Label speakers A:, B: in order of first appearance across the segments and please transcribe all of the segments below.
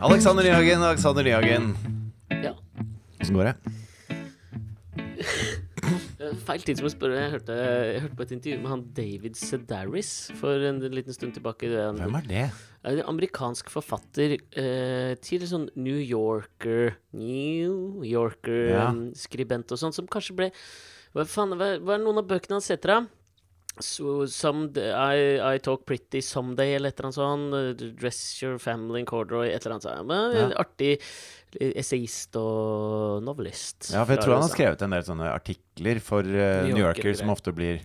A: Alexander Nyhagen, Alexander Nyhagen.
B: Ja.
A: Åssen går det?
B: Eh, Feil tidspunkt å spørre. Jeg hørte, jeg hørte på et intervju med han David Sedaris for en liten stund tilbake. Han
A: Hvem er det?
B: er en amerikansk forfatter eh, til sånn New Yorker New
A: Ja.
B: Yorker-skribent og sånn, som kanskje ble Hva faen, hva, hva er noen av bøkene hans heter, da? So, some d- I, I talk pretty someday, eller et eller annet sånt. eh, Dress your family in corduroy, et eller annet sånt. Men,
A: Ja.
B: eh, Artig eh, essayist og novelist.
A: Ja, for jeg
B: fra
A: tror han har
B: USA.
A: skrevet en del sånne artikler for eh,
B: New
A: New Yorker
B: Yorker,
A: som ofte blir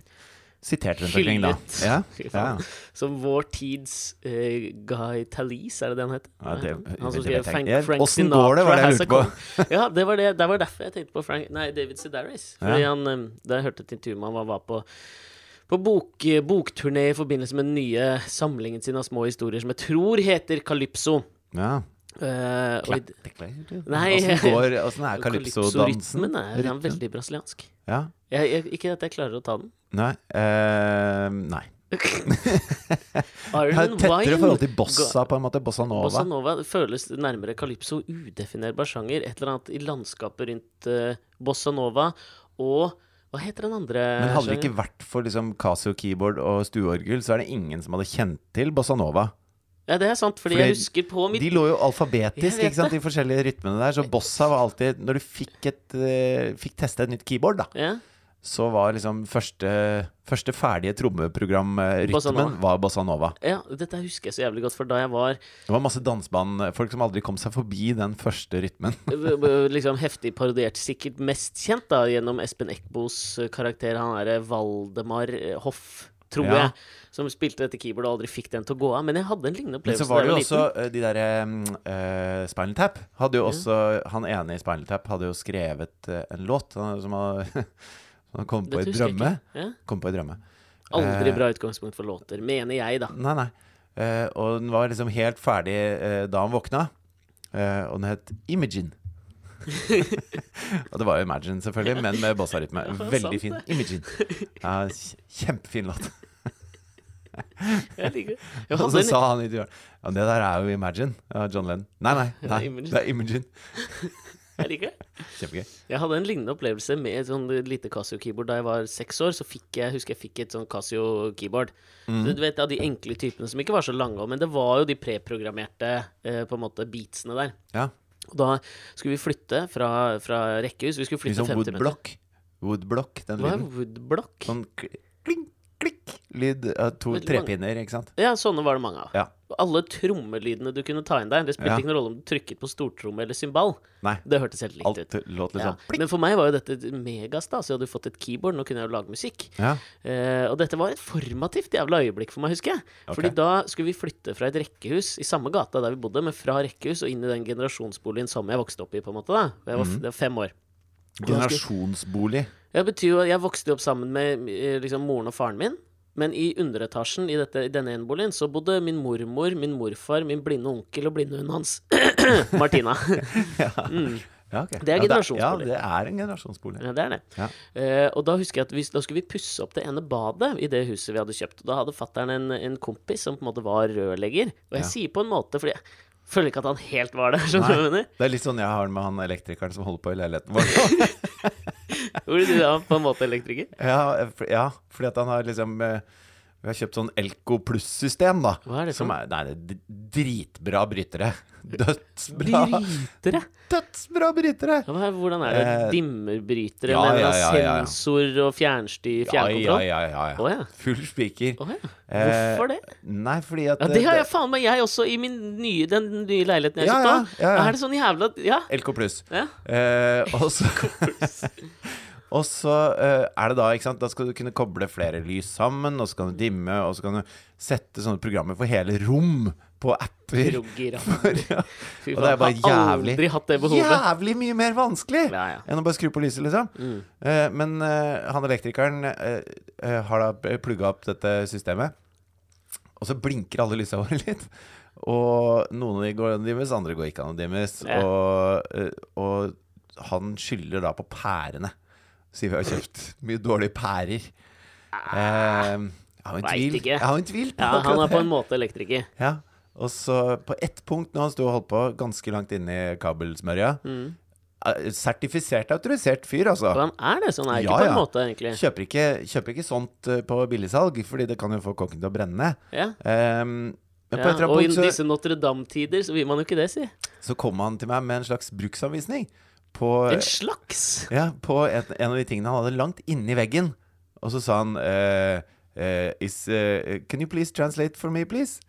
A: sitert rundt omkring, da.
B: Hyllet.
A: Ja,
B: Fy
A: ja.
B: faen. Som vår tids eh, Guy Talis, er det det han heter?
A: Ja, det-
B: han som
A: det vet jeg
B: skrev
A: ikke.
B: Frank,
A: Jeg-
B: Frank
A: åssen går det, var det jeg
B: has a
A: lurte på.
B: Con- ja, det var, det, det var derfor jeg tenkte på Frank Nei, David Sedaris. Fordi
A: Ja.
B: han, eh, da jeg hørte et intervju med han, han var på på bok, eh, bokturné i forbindelse med den nye samlingen sin av små historier, som jeg tror heter Calypso.
A: ja.
B: Eh, og i d- Nei.
A: Åssen går Åssen er calypso-dansen?
B: Calypso-rytmen er, er
A: Rytmen?
B: veldig brasiliansk.
A: Ja.
B: Jeg, jeg, ikke at jeg klarer å ta den.
A: Nei. eh, nei. Jeg har
B: Iron
A: et tettere
B: Wine
A: forhold til
B: ga-
A: bossa, på en måte. Bossa nova.
B: Bossa Nova føles nærmere calypso, udefinerbar sjanger. Et eller annet i landskapet rundt eh, Bossa Nova. Og hva heter den andre
A: Men hadde det
B: sjangeren?
A: ikke vært for liksom Casio keyboard og stueorgel, så er det ingen som hadde kjent til bossa nova.
B: Ja, det er sant, fordi,
A: Fordi
B: jeg husker på mitt
A: De lå jo alfabetisk,
B: Jeg vet
A: ikke sant, de forskjellige rytmene der. Så bossa var alltid Når du fikk, et, eh, fikk teste et nytt keyboard, da,
B: ja,
A: så var liksom første, første ferdige
B: Bossa nova.
A: trommeprogramrytmen var bossa nova.
B: ja, dette husker jeg så jævlig godt, for da jeg var eh,
A: Det var masse danseband, folk som aldri kom seg forbi den første rytmen.
B: b- b- liksom heftig parodiert, sikkert mest kjent da gjennom Espen Eckbos eh, karakter, han derre Valdemar eh, Hoff, tror
A: Ja.
B: jeg, som spilte dette keyboardet og aldri fikk den til å gå av. Men jeg hadde en lignende
A: Men så
B: opplevelse
A: var
B: da
A: det jo
B: jeg var
A: også
B: liten.
A: eh, de derre uh, Spinal Tap hadde jo også Han ene i Spinal Tap hadde jo skrevet eh, en låt han- som han, som han kom på i
B: Dette husker jeg
A: drømme.
B: ikke. Ja?
A: Kom på i drømme.
B: Aldri
A: Eh,
B: bra utgangspunkt for låter, mener jeg, da.
A: Nei, nei. Eh, og den var liksom helt ferdig eh, da han våkna. Eh, og den het Imagine. og det var jo Imagine, selvfølgelig, men med bossarytme.
B: Ja, sant
A: Veldig fin.
B: det.
A: Imagine. Ja, kj- kjempefin låt.
B: Jeg liker det. Jeg
A: Og
B: hadde
A: så
B: en
A: sa han idioten Ja, det der er jo Imagine av John Lennon. Nei, nei,
B: Ja,
A: nei
B: Imagine.
A: det er Imagine.
B: Jeg liker det.
A: Kjempegøy.
B: Jeg hadde en lignende opplevelse med et sånn lite Casio-keyboard da jeg var seks år. Så fikk jeg, husker jeg fikk et sånn Casio-keyboard.
A: Mhm.
B: Så Du vet, Av de enkle typene som ikke var så lange, men det var jo de preprogrammerte eh, på en måte beatsene der.
A: Ja.
B: Og da skulle vi flytte fra, fra rekkehus. Vi skulle
A: Litt
B: flytte
A: sånn
B: 50 meter.
A: woodblock. Woodblock, den
B: Hva er
A: lyden.
B: woodblock?
A: Sånn kl- kling, klikk lyd av to
B: Veldig mange.
A: trepinner, ikke sant.
B: Ja, sånne var det mange av.
A: Ja.
B: Alle trommelydene du kunne ta inn der. Det spilte
A: Ja.
B: ikke noen rolle om du trykket på stortromme eller cymbal.
A: Nei.
B: Det hørtes helt likt
A: Alt
B: ut.
A: låt litt
B: Ja.
A: sånn plikk.
B: liksom. Men for meg var jo dette megastas. Jeg hadde jo fått et keyboard, nå kunne jeg jo lage musikk.
A: Ja.
B: Eh, og dette var et formativt jævla øyeblikk for meg, husker jeg.
A: Ok.
B: Fordi da skulle vi flytte fra et rekkehus i samme gata der vi bodde, men fra rekkehus og inn i den generasjonsboligen som jeg vokste opp i, på en måte. da Jeg var, f- jeg var fem år.
A: Generasjonsbolig.
B: Det betyr jo at jeg vokste opp sammen med eh, liksom, moren og faren min. Men i underetasjen i, dette, i denne eneboligen så bodde min mormor, min morfar, min blinde onkel og blindehunden hans, Martina. Mm.
A: Ja, ok.
B: Det er
A: Ja,
B: generasjonsbolig.
A: Ja, det er en generasjonsbolig.
B: Ja, det er det.
A: Ja.
B: Eh, og da husker jeg at vi, da skulle vi pusse opp det ene badet i det huset vi hadde kjøpt. Og da hadde fattern en, en kompis som på en måte var rørlegger. Og jeg sier på en måte, fordi jeg føler ikke at han helt var der. Skjønner du hva jeg mener?
A: Det er litt sånn jeg har det med han elektrikeren som holder på i leiligheten vår.
B: Hvor du var på en måte elektriker.
A: ja, for, ja, fordi at han har liksom eh, Vi har kjøpt sånn Elko pluss-system, da.
B: Hva er det for
A: som
B: noe?
A: er, nei, det er d- dritbra brytere. Dødsbra,
B: Brytere?
A: dødsbra brytere!
B: Ja, hva- hvordan er det?
A: Eh,
B: Dimmerbrytere
A: ja,
B: med
A: ja,
B: en eller
A: ja,
B: annen
A: ja, ja.
B: sensor og
A: Ja,
B: fjernstyr,
A: ja,
B: fjernkontroll?
A: ja, ja,
B: Å
A: ja.
B: ja.
A: Full spiker.
B: Å ja.
A: Eh,
B: Hvorfor det?
A: Nei, fordi at
B: Ja, det har jeg faen meg, jeg også, i min nye, den nye leiligheten jeg
A: Ja,
B: kjøpte. nå.
A: ja, ja, ja.
B: Er det sånn jævla Ja.
A: LK pluss.
B: ja.
A: Eh, og så, og så eh, er det da, ikke sant Da skal du kunne koble flere lys sammen, og så kan du dimme, og så kan du sette sånne programmer for hele rom på apper.
B: Roger,
A: ja.
B: Fy
A: Og det er
B: faen,
A: bare
B: har
A: jævlig
B: Aldri hatt det behovet.
A: Jævlig mye mer vanskelig
B: Ja, Mm. ja.
A: enn å bare skru på lyset, liksom. Eh, men eh, han elektrikeren eh, eh, har da plugga opp dette systemet, og så blinker alle lysa våre litt. Og noen av de går an å dimmes, andre går ikke an å dimmes.
B: Ja.
A: Og, eh, og han skylder da på pærene, sier vi har kjøpt mye dårlige pærer. Eh, jeg har en
B: Vet
A: tvil.
B: Ah. ikke.
A: Jeg har en tvil på
B: Ja,
A: akkurat
B: han er på
A: det.
B: en måte elektriker.
A: Ja, Og så på ett punkt når han sto og holdt på ganske langt inne i kabelsmørja
B: Mm.
A: eh, Sertifisert autorisert fyr, altså.
B: Og han er det, så han er ikke
A: Ja,
B: på en
A: ja.
B: måte, egentlig.
A: Kjøper ikke, kjøper ikke sånt eh, på billigsalg, fordi det kan jo få kokken til å brenne.
B: Ja.
A: Ehm, men på
B: Ja,
A: et eller
B: og i
A: annet punkt
B: disse Notre Dame-tider så vil man jo ikke det, si.
A: så, så kom han til meg med en slags bruksanvisning på,
B: En slags!
A: ja, på en, en av de tingene han hadde langt inni veggen. Og så sa han eh, eh, is, eh, Can you please translate for me, please?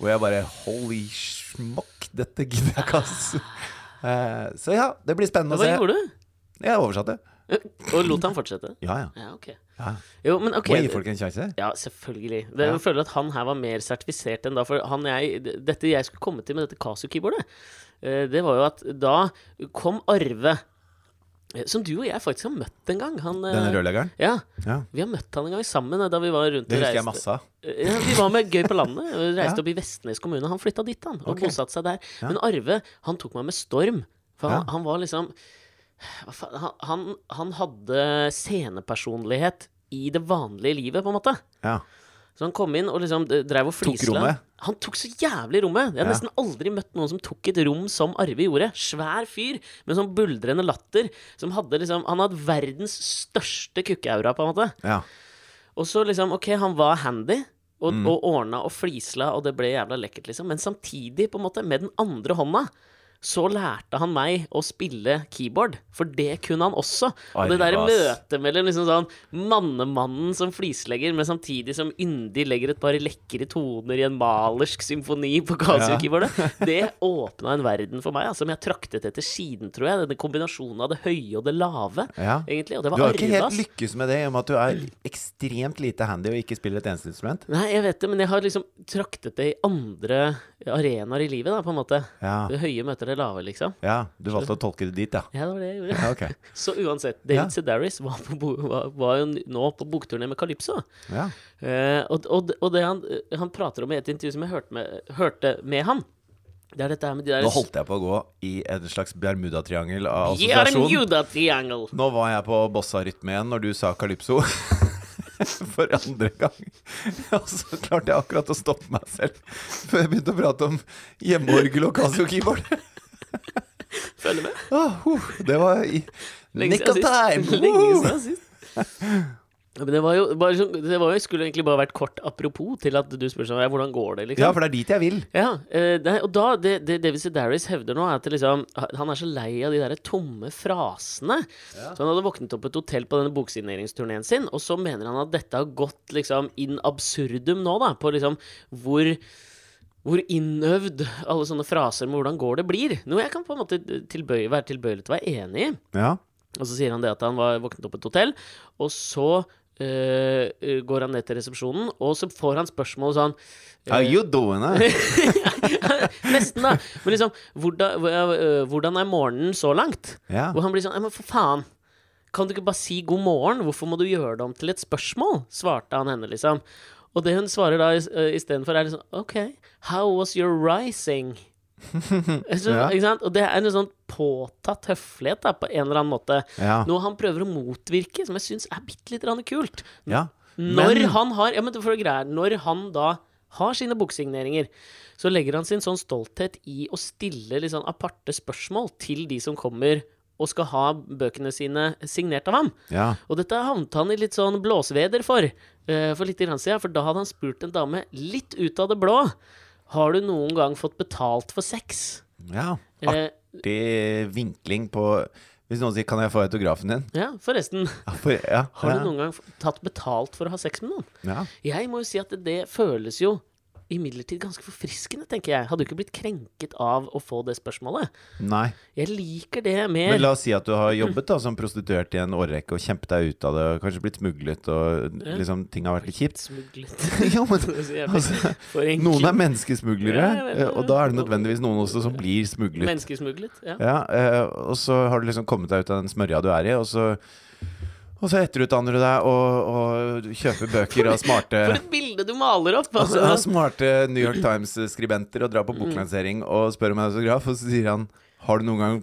A: Og jeg bare Holy smokk, dette gidder jeg ikke, ass. Eh, så ja, det blir spennende
B: Hva
A: å se.
B: gjorde du? Eh,
A: Jeg oversatte.
B: Og lot han fortsette?
A: Ja, ja.
B: Ja, ok.
A: ja.
B: Jo, men ok
A: Må jeg gi folk en sjanse?
B: Ja, selvfølgelig. Det,
A: Ja.
B: Jeg føler at han her var mer sertifisert enn da. For han jeg, d- dette jeg skulle komme til med dette Casio-keyboardet, eh, det var jo at da kom Arve, eh, som du og jeg faktisk har møtt en gang. Han, eh,
A: Denne rørleggeren?
B: Ja,
A: Ja.
B: vi har møtt han en gang sammen eh, da vi var rundt
A: Det
B: og
A: husker jeg
B: reiste. Eh,
A: masse av.
B: Ja, vi var med Gøy på landet. og Reiste
A: Ja.
B: opp i Vestnes kommune. Han flytta dit, han. Og
A: Ok.
B: bosatte seg der.
A: Ja.
B: Men Arve, han tok meg med storm. For han,
A: Ja.
B: han var liksom hva faen, han, han, han hadde scenepersonlighet i det vanlige livet, på en måte.
A: Ja.
B: Så han kom inn og liksom eh, drev og
A: Tok
B: flisla.
A: rommet?
B: Han tok så jævlig rommet! Jeg har
A: Ja.
B: nesten aldri møtt noen som tok et rom som Arve gjorde. Svær fyr med sånn buldrende latter. Som hadde liksom Han hadde verdens største kukkeaura, på en måte.
A: ja.
B: Og så liksom, ok, han var handy og,
A: Mm.
B: og ordna og flisla, og det ble jævla lekkert, liksom. Men samtidig, på en måte, med den andre hånda, så lærte han meg å spille keyboard, for det kunne han også. Og det der
A: Arvas.
B: møtet mellom liksom sånn mannemannen som flislegger, men samtidig som yndig legger et par lekre toner i en malersk symfoni på Casio-keyboardet, det åpna en verden for meg altså, som jeg traktet etter siden, tror jeg. Denne kombinasjonen av det høye og det lave,
A: ja.
B: egentlig. Og
A: Du
B: det var
A: har ikke helt
B: Arvas.
A: lykkes med det, i og med at du er ekstremt lite handy og ikke spiller et eneste instrument.
B: Nei, jeg vet det, men jeg har liksom traktet det i andre arenaer i livet, da, på en måte.
A: Ja.
B: Det høye møter det lave, liksom.
A: ja. Du valgte å tolke det dit, ja.
B: Ja, det var det jeg gjorde.
A: ja ok.
B: Så uansett,
A: Ja.
B: David Sedaris var, på, bo- var, var jo nå på bokturné med Calypso.
A: Ja.
B: Eh, og, og, og det han, han prater om i et intervju som jeg hørte med, hørte med han, det er dette her med de der
A: Nå holdt jeg på å gå i en slags bermudatriangel av assosiasjon.
B: Bermuda-triangle!
A: Nå var jeg på bossa-rytme igjen når du sa calypso. For andre gang. Og så klarte jeg akkurat å stoppe meg selv før jeg begynte å prate om hjemmeorgel og Casio-keyboard.
B: Følger med.
A: Ah, huh, det var i
B: Lenge
A: nick of
B: siden
A: time!
B: sist. Lenge
A: Woo!
B: siden sist. Ja, Men det var jo, bare, sånn- det var jo, skulle egentlig bare vært kort apropos til at du spør sånn, «Ja, hvordan går det, liksom.
A: Ja, for det er dit jeg vil.
B: Ja, eh, nei, og da, det, det David Sedaris hevder nå, er at liksom, han er så lei av de der tomme frasene. Så han hadde våknet opp på et hotell på denne boksigneringsturnéen sin, og så mener han at dette har gått liksom in absurdum nå, da, på liksom hvor hvor innøvd alle sånne fraser med 'hvordan går det' blir. Noe jeg kan på en måte tilbøye, være tilbøyelig til å være enig i.
A: Ja.
B: Og så sier han det at han var våknet opp på et hotell, og så eh, eh, går han ned til resepsjonen, og så får han spørsmål sånn
A: How you doing, eh?
B: Nesten, da. Men liksom, hvordan, hva- øh, hvordan er morgenen så langt?
A: Ja.
B: Hvor han blir sånn «Nei, Men for faen! Kan du ikke bare si god morgen? Hvorfor må du gjøre det om til et spørsmål? Svarte han henne, liksom. Og det hun svarer da is- øh, istedenfor, er liksom OK, how was your rising? Så,
A: Ja.
B: ikke sant? Og det er en sånn påtatt høflighet, da, på en eller annen måte.
A: Ja.
B: Noe han prøver å motvirke, som jeg syns er bitte litt grann kult.
A: ja.
B: Når han har Ja, men for å greie Når han da har sine boksigneringer, så legger han sin sånn stolthet i å stille litt sånn aparte spørsmål til de som kommer og skal ha bøkene sine signert av ham.
A: ja.
B: Og dette havnet han i litt sånn blåsveder for eh, for litt grann siden, for da hadde han spurt en dame litt ut av det blå. Har du noen gang fått betalt for sex?
A: ja.
B: Eh,
A: Artig vinkling på Hvis noen sier 'kan jeg få autografen din'?
B: ja, forresten.
A: Ja, for, ja.
B: Har
A: ja.
B: du noen gang f- tatt betalt for å ha sex med noen?
A: Ja.
B: Jeg må jo si at det føles jo imidlertid ganske forfriskende, tenker jeg. Hadde jo ikke blitt krenket av å få det spørsmålet.
A: Nei.
B: Jeg liker det
A: Men
B: mer.
A: la oss si at du har jobbet da som prostituert i en årrekke og kjempet deg ut av det, og kanskje blitt smuglet, og liksom ting har vært litt kjipt.
B: Smuglet.
A: Jo, men
B: Det er så jævlig
A: altså,
B: forenklet.
A: noen er
B: Ja, jeg vet
A: menneskesmuglere,
B: det.
A: og da er det nødvendigvis noen også som blir smuglet.
B: Menneskesmuglet. Ja.
A: Ja, eh, og så har du liksom kommet deg ut av den smørja du er i, og så, og så etterutdanner du deg og, og kjøper bøker av smarte
B: For et bilde du maler opp!
A: Altså,
B: Altså.
A: jeg har smarte New York Times-skribenter og drar
B: Mm.
A: på boklansering og spør om en autograf, og så sier han har du noen gang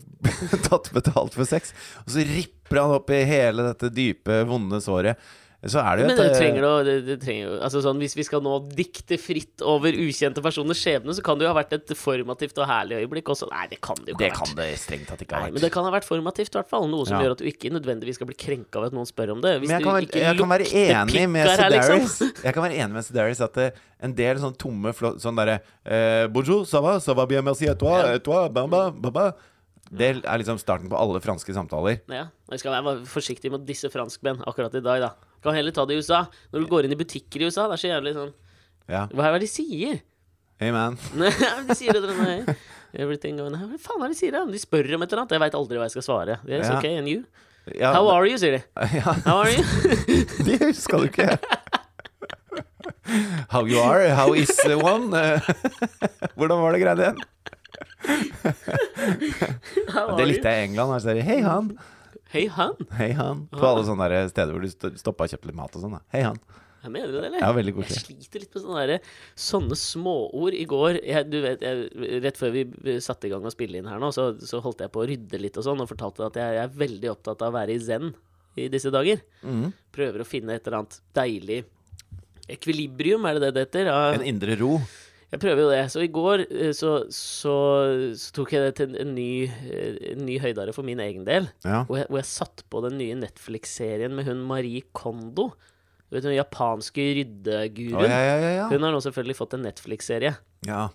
A: tatt betalt for sex? Og så ripper han opp i hele dette dype, vonde såret. Så er det jo
B: Men
A: et
B: det
A: eh,
B: trenger å, det, det trenger jo altså sånn, Hvis vi skal nå dikte fritt over ukjente personers skjebne, så kan det jo ha vært et formativt og herlig øyeblikk også. Nei, det kan det jo ikke
A: Det
B: ha vært.
A: kan det strengt tatt ikke ha
B: Nei,
A: vært.
B: men det kan ha vært formativt, i hvert fall. Noe som
A: Ja.
B: gjør at du ikke nødvendigvis skal bli krenka ved at noen spør om det. Hvis
A: Men jeg kan,
B: du
A: være,
B: ikke
A: jeg kan være
B: lukter
A: enig med
B: pikk her, liksom.
A: Sedaris Jeg kan være enig med Sedaris at eh, en del sånn tomme flå- Sånn derre eh, Bonjour, ça va, ça va bien, merci, et toi, et toi, bamba, baba Det er liksom starten på alle franske samtaler.
B: Ja, og jeg skal være forsiktig med disse franskmenn akkurat i dag, da. Kan heller ta det i USA. Når du går inn i butikker i USA, det er så jævlig sånn
A: Ja.
B: Hva er det de sier?
A: Hey man.
B: Nei, de sier et eller annet Everything going Hva faen er det de sier? da? De spør om et eller annet. Jeg veit aldri hva jeg skal svare. Yes,
A: Ja.
B: okay, and you?
A: Ja,
B: How are you, sier de.
A: ja,
B: How are you?
A: det skal du ikke. How you are? How is one? Eh, Hvordan var det greia igjen?
B: How
A: Det
B: are you?
A: likte jeg i England. Her, så er det, Hei, han.
B: Hei, han.
A: Hei, han. På alle sånne der steder hvor du sto- stoppa og kjøpte litt mat og sånn. da. Hei, han.
B: Jeg mener det, eller?
A: Ja, veldig koselig.
B: Jeg sliter litt med sånne, der, sånne småord. I går, jeg, du vet, jeg, rett før vi satte i gang å spille inn her nå, så, så holdt jeg på å rydde litt og sånn, og fortalte at jeg, jeg er veldig opptatt av å være i zen i disse dager.
A: Mm.
B: Prøver å finne et eller annet deilig Ekvilibrium, er det det det heter? Ja.
A: En indre ro.
B: Jeg prøver jo det. Så i går eh, så, så, så tok jeg det til en ny, eh, en ny høydare for min egen del.
A: Ja.
B: Hvor jeg, hvor jeg satt på den nye Netflix-serien med hun Marie Kondo. Du vet hun japanske ryddeguruen?
A: Å, ja, ja, ja, ja.
B: Hun har nå selvfølgelig fått en Netflix-serie.
A: ja.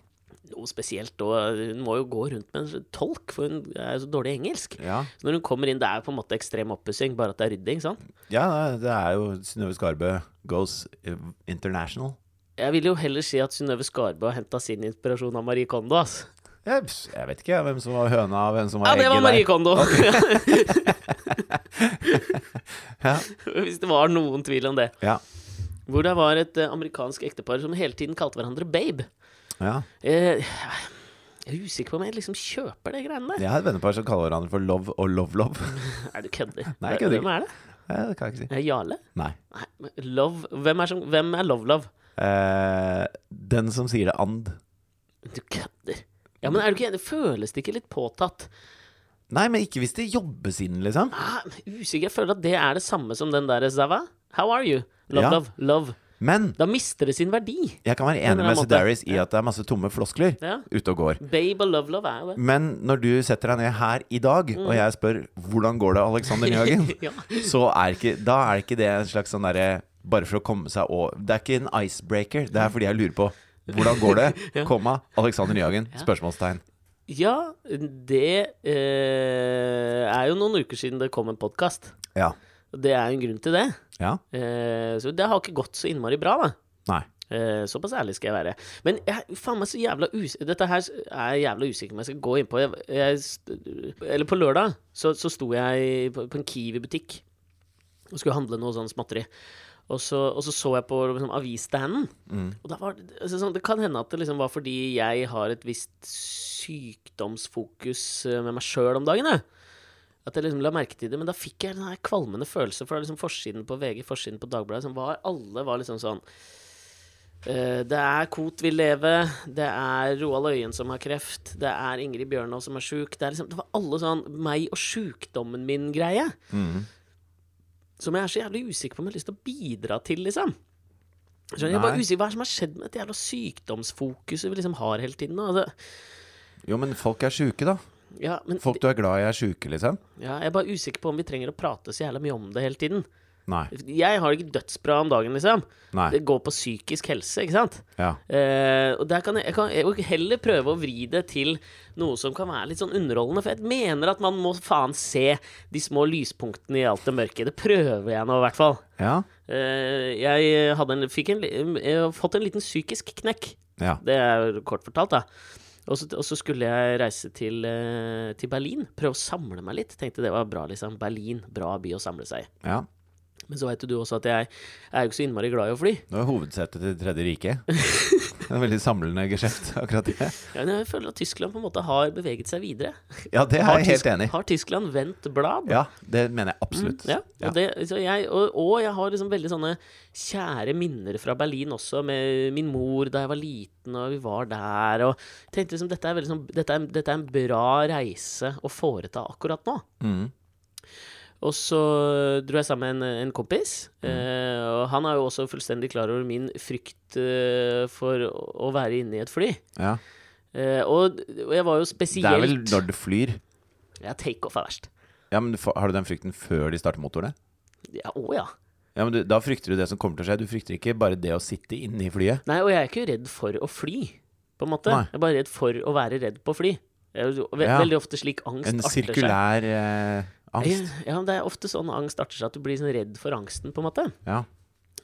B: Noe spesielt, og hun må jo gå rundt med en tolk, for hun er jo så dårlig i engelsk.
A: Ja,
B: Så når hun kommer inn, det er jo på en måte ekstrem oppussing, bare at det er rydding, sant?
A: ja nei, det er jo Synnøve Skarbø goes eh, international.
B: Jeg vil jo heller si at Synnøve Skarbø har henta sin inspirasjon av Marie Kondo, ass.
A: Jeg, pss, jeg vet ikke jeg, hvem som var høna og hvem som var
B: Ja, det var Marie
A: egget der.
B: Kondo!
A: Ja.
B: Hvis det var noen tvil om det.
A: Ja,
B: Hvor det var et eh, amerikansk ektepar som hele tiden kalte hverandre babe.
A: ja.
B: Eh, jeg er usikker på om jeg liksom kjøper det greiene der.
A: Jeg har et vennepar som kaller hverandre for Love og Love Love.
B: Nei, du kødder.
A: Nei, jeg kødder
B: Hvem er det?
A: Eh, Det kan jeg ikke si.
B: Er det Jarle?
A: Nei.
B: Nei, men love Hvem er, som, hvem er Love Love?
A: Eh, den som sier det and.
B: Du kødder. Ja, men er du ikke enig? Føles det ikke litt påtatt?
A: Nei, men ikke hvis det jobbes inn, liksom.
B: Ah, usikker. Jeg føler at det er det samme som den derre Zava. How are you? Love,
A: Ja.
B: love, love.
A: Men
B: Da mister det sin verdi.
A: jeg kan være
B: en
A: enig
B: eller
A: med
B: annen
A: Sedaris i at det er masse tomme floskler
B: Ja.
A: ute og går.
B: Babe og love, love er jo det.
A: Men når du setter deg ned her i dag,
B: Mm.
A: og jeg spør 'Hvordan går det, Alexander Nyhagen?'
B: ja.
A: så er ikke, da er ikke det en slags sånn derre Bare for å komme seg over Det er ikke en icebreaker. Det er fordi jeg lurer på hvordan går det? Komma, Alexander Nyhagen? Spørsmålstegn.
B: ja, det eh, er jo noen uker siden det kom en podkast.
A: Ja.
B: Og det er jo en grunn til det.
A: Ja?
B: Eh, så det har ikke gått så innmari bra, da.
A: Nei.
B: Eh, såpass ærlig skal jeg være. Men jeg, faen meg så jævla us dette her er jeg jævla usikker på om jeg skal gå innpå. Jeg, jeg, st- eller på lørdag så, så sto jeg på, på en Kiwi-butikk og skulle handle noe sånn småtteri. Og så, og så så jeg på liksom, avisstanden. Og da var, det- altså, sånn, det kan hende at det liksom var fordi jeg har et visst sykdomsfokus eh, med meg sjøl om dagen. Jeg. At jeg liksom la merke til det, Men da fikk jeg den her kvalmende følelse. For det er liksom forsiden på VG, forsiden på Dagbladet som var, Alle var liksom sånn eh, Det er Kot vil leve, det er Roald Øyen som har kreft, det er Ingrid Bjørnov som er sjuk. Det, er liksom, det var alle sånn meg og sjukdommen min-greie.
A: Mm.
B: Som jeg er så jævlig usikker på om jeg har lyst til å bidra til, liksom. Skjønner, jeg er bare
A: Nei.
B: usikker, Hva er det som har skjedd med dette jævla sykdomsfokuset vi liksom har hele tiden? nå? Altså,
A: Jo, men folk er sjuke, da.
B: ja, men
A: Folk du er glad i, er sjuke, liksom.
B: Ja, jeg er bare usikker på om vi trenger å prate så jævla mye om det hele tiden.
A: Nei.
B: Jeg har det ikke dødsbra om dagen, liksom.
A: Nei.
B: Det går på psykisk helse, ikke sant?
A: Ja.
B: Eh, og der kan jeg, jeg kan jeg vil heller prøve å vri det til noe som kan være litt sånn underholdende. For jeg mener at man må faen se de små lyspunktene i alt det mørke. Det prøver jeg nå, i hvert fall.
A: Ja.
B: Eh, jeg hadde en, fikk en, li- jeg har fått en liten psykisk knekk.
A: Ja.
B: Det er kort fortalt, da. Og så, og så skulle jeg reise til, eh, til Berlin, prøve å samle meg litt. Tenkte det var bra, liksom. Berlin, bra by å samle seg i.
A: ja.
B: Men så veit jo du også at jeg er jo ikke så innmari glad i å fly.
A: Det var hovedsetet til Tredje riket. Det er en veldig samlende geskjeft, akkurat det.
B: Men jeg føler at Tyskland på en måte har beveget seg videre.
A: Ja, det er jeg helt enig i.
B: Har Tyskland vendt blad? Mm,
A: Ja, det mener jeg absolutt.
B: Ja, og, det, så jeg, og, og jeg har liksom veldig sånne kjære minner fra Berlin også, med min mor da jeg var liten, og vi var der. Og jeg tenkte liksom, dette er, veldig sånn, dette er, dette er en bra reise å foreta akkurat nå.
A: Mm.
B: Og så dro jeg sammen med en, en kompis. eh, og han er jo også fullstendig klar over min frykt eh, for å, å være inne i et fly.
A: Ja.
B: Eh, og, og jeg var jo
A: Det er
B: spesielt
A: vel når du flyr.
B: Ja, takeoff er verst.
A: Ja, men du får- Har du den frykten før de starter motorene?
B: Ja, å ja.
A: Ja, men du, Da frykter du det som kommer til å skje. Du frykter ikke bare det å sitte inne i flyet.
B: Nei, og jeg er ikke redd for å fly, på en måte.
A: Nei.
B: Jeg er bare redd for å være redd på å fly. Det er jo ve
A: Ja.
B: Veldig ofte slik angst
A: En
B: arter seg.
A: sirkulær eh, angst.
B: Ja, men det er ofte sånn angst arter seg at du blir sånn redd for angsten, på en måte.
A: Ja.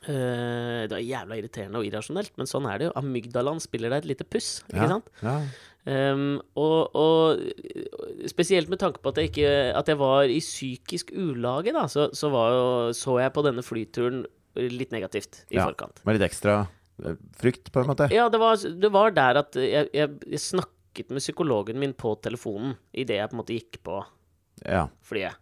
B: Eh, det er jævla irriterende og irrasjonelt, men sånn er det jo. Amygdalaen spiller deg et lite puss, ikke
A: Ja.
B: sant?
A: Ja.
B: Ehm, og, og spesielt med tanke på at jeg, ikke, at jeg var i psykisk ulage, da, så, så, var jo, så jeg på denne flyturen litt negativt i
A: Ja.
B: forkant.
A: Med litt ekstra eh, frykt, på en måte.
B: Ja, det var, det var der at jeg, jeg, jeg snakket med psykologen min på telefonen idet jeg på en måte gikk på
A: Ja.
B: flyet.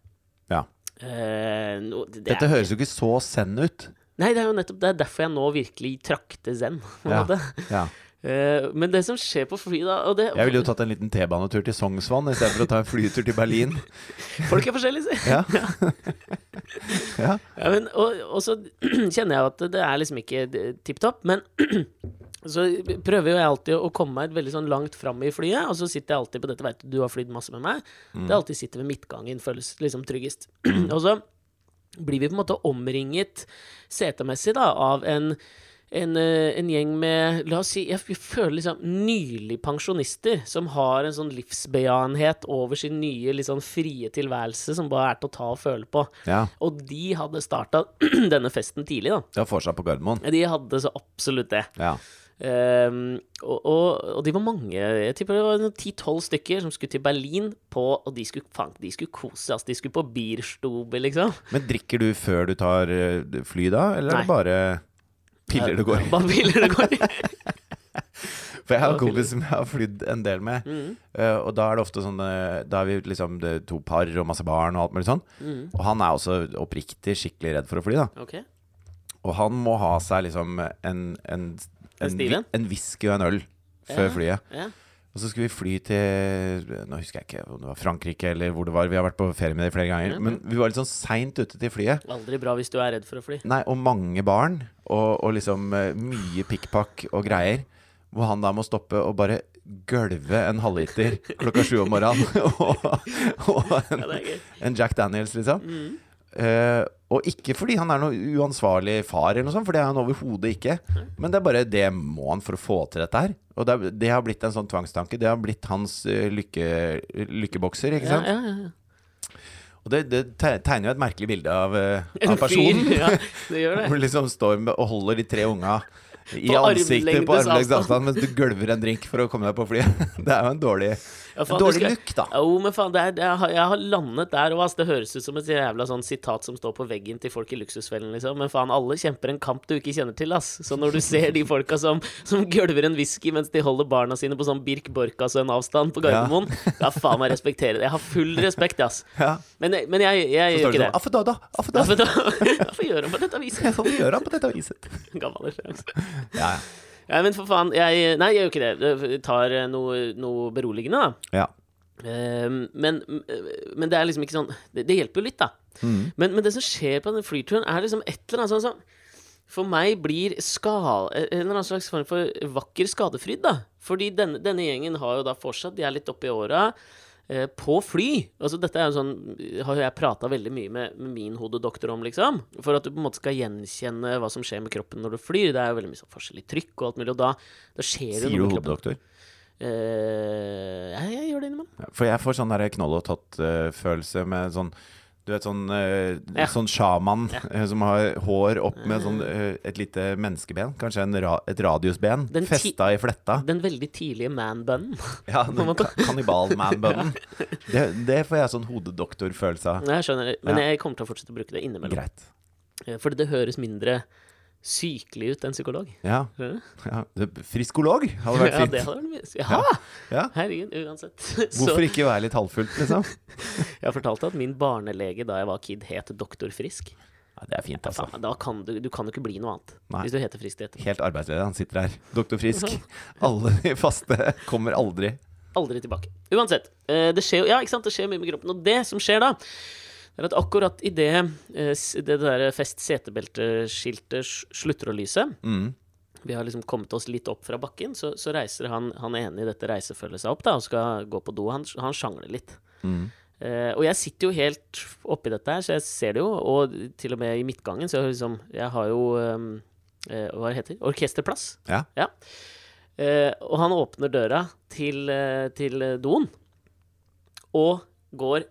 A: Ja.
B: Eh, no, det, det
A: Dette
B: er,
A: høres jo ikke så send ut.
B: nei, det er jo nettopp det er derfor jeg nå virkelig trakter zen. på en
A: Ja.
B: måte.
A: Ja.
B: Eh, men det som skjer på fly, da og det,
A: Jeg ville jo tatt en liten T-banetur til Sognsvann istedenfor å ta en flytur til Berlin.
B: Folk er forskjellige, si.
A: Ja. ja.
B: Ja, men, og, og så kjenner jeg jo at det er liksom ikke tipp topp, men så prøver jo jeg alltid å komme meg veldig sånn langt fram i flyet, og så sitter jeg alltid på dette, vet du, du har flydd masse med meg,
A: Mm.
B: det er alltid sitter ved midtgangen, føles liksom tryggest. og så blir vi på en måte omringet setemessig da, av en en, eh, en gjeng med La oss si Jeg f- føler liksom nylig pensjonister som har en sånn livsbejaenhet over sin nye, litt sånn frie tilværelse som bare er til å ta og føle på.
A: ja.
B: Og de hadde starta denne festen tidlig, da.
A: Det var forsa på Gardermoen.
B: De hadde så absolutt det.
A: Ja.
B: Ehm, og, og, og de var mange, jeg tipper det var ti-tolv stykker som skulle til Berlin på Og de skulle, faen, de skulle kose, altså. De skulle på Bierstube, liksom.
A: Men drikker du før du tar eh, fly da, eller er
B: Nei.
A: det bare piller du går i?
B: Bare piller det går i.
A: For jeg har en kompis som jeg har flydd en del med.
B: Mm,
A: eh, og da er det ofte sånn eh, Da er vi liksom det, to par og masse barn og alt mulig sånn. Og han er også oppriktig skikkelig redd for å fly, da.
B: mm. Ok.
A: Og han må ha seg liksom en, en,
B: En
A: en,
B: stiv en?
A: vi- en whisky og en øl før flyet.
B: Ja.
A: Og så skulle vi fly til Nå husker jeg ikke om det var Frankrike eller hvor det var. Vi har vært på ferie med det flere ganger. Men vi var litt sånn seint ute til flyet.
B: Aldri bra hvis du er redd for å fly.
A: Nei, og mange barn. Og, og liksom eh, mye pikkpakk og greier. Hvor han da må stoppe og bare gølve en halvliter klokka sju om morgenen. og og en,
B: Ja, det er Mm. gøy.
A: en Jack Daniels, liksom. Eh, og ikke fordi han er noe uansvarlig far, eller noe sånt, for det er han overhodet ikke. Men det er bare det må han for å få til dette her. Og det, er- det har blitt en sånn tvangstanke. Det har blitt hans eh, lykke, lykkebokser, ikke
B: Ja,
A: sant.
B: ja, ja.
A: Og det, det te- tegner jo et merkelig bilde av, eh,
B: En
A: av personen.
B: fyr, Ja, det gjør det.
A: Hvor du liksom står med, og holder de tre unga i
B: På
A: ansiktet på armlengdes
B: armlengdes avstand.
A: avstand mens du gølver en drink for å komme deg på flyet. Det er jo en dårlig,
B: Ja, faen,
A: en dårlig
B: husker jeg-
A: look, da.
B: Jo, men faen, det er, det er, jeg har landet der òg, ass. Det høres ut som et jævla sånn sitat som står på veggen til folk i luksusfellen, liksom. Men faen, alle kjemper en kamp du ikke kjenner til, ass. Så når du ser de folka som, som gølver en whisky mens de holder barna sine på sånn Birk Borkas og en avstand på Gardermoen, da faen meg respektere det. Jeg har full respekt, ass.
A: Ja.
B: Men, men jeg, jeg
A: Så
B: gjør
A: står det
B: ikke
A: sånn
B: det.
A: Affedada,
B: Ja,
A: affedada.
B: for da, da får jeg gjøre på dette viset.
A: Sånn gjør han på dette viset.
B: Gammel referanse.
A: Ja,
B: Ja, men for faen, jeg Nei, jeg gjør ikke det. Jeg tar eh, noe, noe beroligende, da.
A: ja.
B: Ehm, men, men det er liksom ikke sånn Det, det hjelper jo litt, da.
A: Mm.
B: Men, men det som skjer på den flyturen, er liksom et eller annet sånn som For meg blir skal, en eller annen slags form for vakker skadefryd, da. Fordi denne, denne gjengen har jo da fortsatt De er litt oppi åra. eh, På fly. altså Dette er jo sånn har jo jeg prata veldig mye med, med min hodedoktor om, liksom. For at du på en måte skal gjenkjenne hva som skjer med kroppen når du flyr. Det er jo veldig mye sånn forskjellig trykk og alt mulig, og da, da skjer det
A: Sier
B: jo
A: du
B: noe med kroppen.
A: hodedoktor?
B: Eh, ja, jeg gjør det innimellom.
A: Ja, For jeg får sånn der knoll og tott-følelse med sånn du vet sånn, eh,
B: Ja.
A: sånn sjaman eh, som har hår opp med sånn, eh, et lite menneskeben, kanskje en ra et radiusben,
B: Den ti-
A: festa i fletta.
B: Den veldig tidlige man-bunnen.
A: Ja,
B: på en
A: den
B: måte.
A: ka- kannibal-man-bunnen. Det, det får jeg sånn hodedoktor-følelse av.
B: Nei, Jeg skjønner det, men
A: Ja.
B: jeg kommer til å fortsette å bruke det innimellom.
A: Greit.
B: Eh, Fordi det høres mindre sykelig ut enn psykolog.
A: Ja.
B: Skjønner du?
A: ja. det- Friskolog hadde vært
B: Ja,
A: fint.
B: det hadde vært mye. Ja,
A: Ja.
B: herregud, uansett. Så
A: Hvorfor ikke være litt halvfullt, liksom?
B: jeg har fortalt deg at min barnelege da jeg var kid, het Doktor Frisk.
A: Ja, det er fint,
B: Ja,
A: altså.
B: faen, da kan du, du kan jo ikke bli noe annet
A: Nei.
B: hvis du heter Frisk til etterpå.
A: Helt arbeidsledig, han sitter her. Doktor Frisk. Alle de faste kommer aldri.
B: Aldri tilbake. Uansett. eh, Det skjer jo ja, ikke sant? Det skjer mye med kroppen. Og det som skjer da, er at akkurat idet det der fest setebelteskiltet s- slutter å lyse,
A: Mm.
B: vi har liksom kommet oss litt opp fra bakken, så, så reiser han, han ene i dette reisefølget seg opp da, og skal gå på do. Han, han sjangler litt.
A: Mm.
B: Eh, og jeg sitter jo helt oppi dette her, så jeg ser det jo. Og til og med i midtgangen, så liksom Jeg har jo ehm, eh, Hva det heter det? Orkesterplass.
A: Ja.
B: Eh, og han åpner døra til, eh, til eh, doen, og går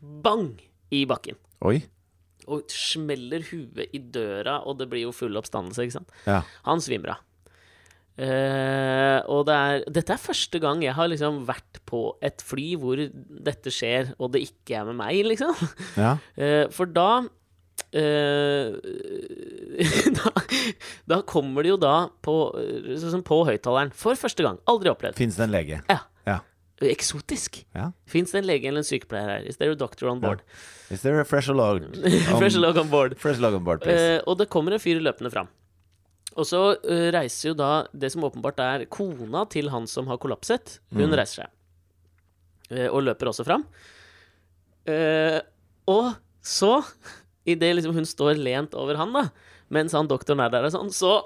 B: bang i bakken.
A: Oi.
B: Og smeller huet i døra, og det blir jo full oppstandelse, ikke sant.
A: Ja.
B: Han svimer av. Eh, og det er, dette er første gang jeg har liksom vært på et fly hvor dette skjer, og det ikke er med meg, liksom.
A: ja.
B: Eh, for da eh, da, da kommer det jo da på, eh, sånn som på høyttaleren for første gang. Aldri opplevd.
A: Fins det en lege?
B: Ja.
A: Ja.
B: Eksotisk.
A: Ja.
B: Fins det en lege eller en sykepleier her? Is there a doctor on board?
A: Is there a fresh log?
B: Fresh log on board.
A: fresh log on board, please.
B: Eh, og det kommer en fyr løpende fram. Og så eh, reiser jo da det som åpenbart er kona til han som har kollapset. Hun reiser seg. Eh, og løper også fram. Eh, og så, idet liksom hun står lent over han, da, mens han doktoren er der og sånn, så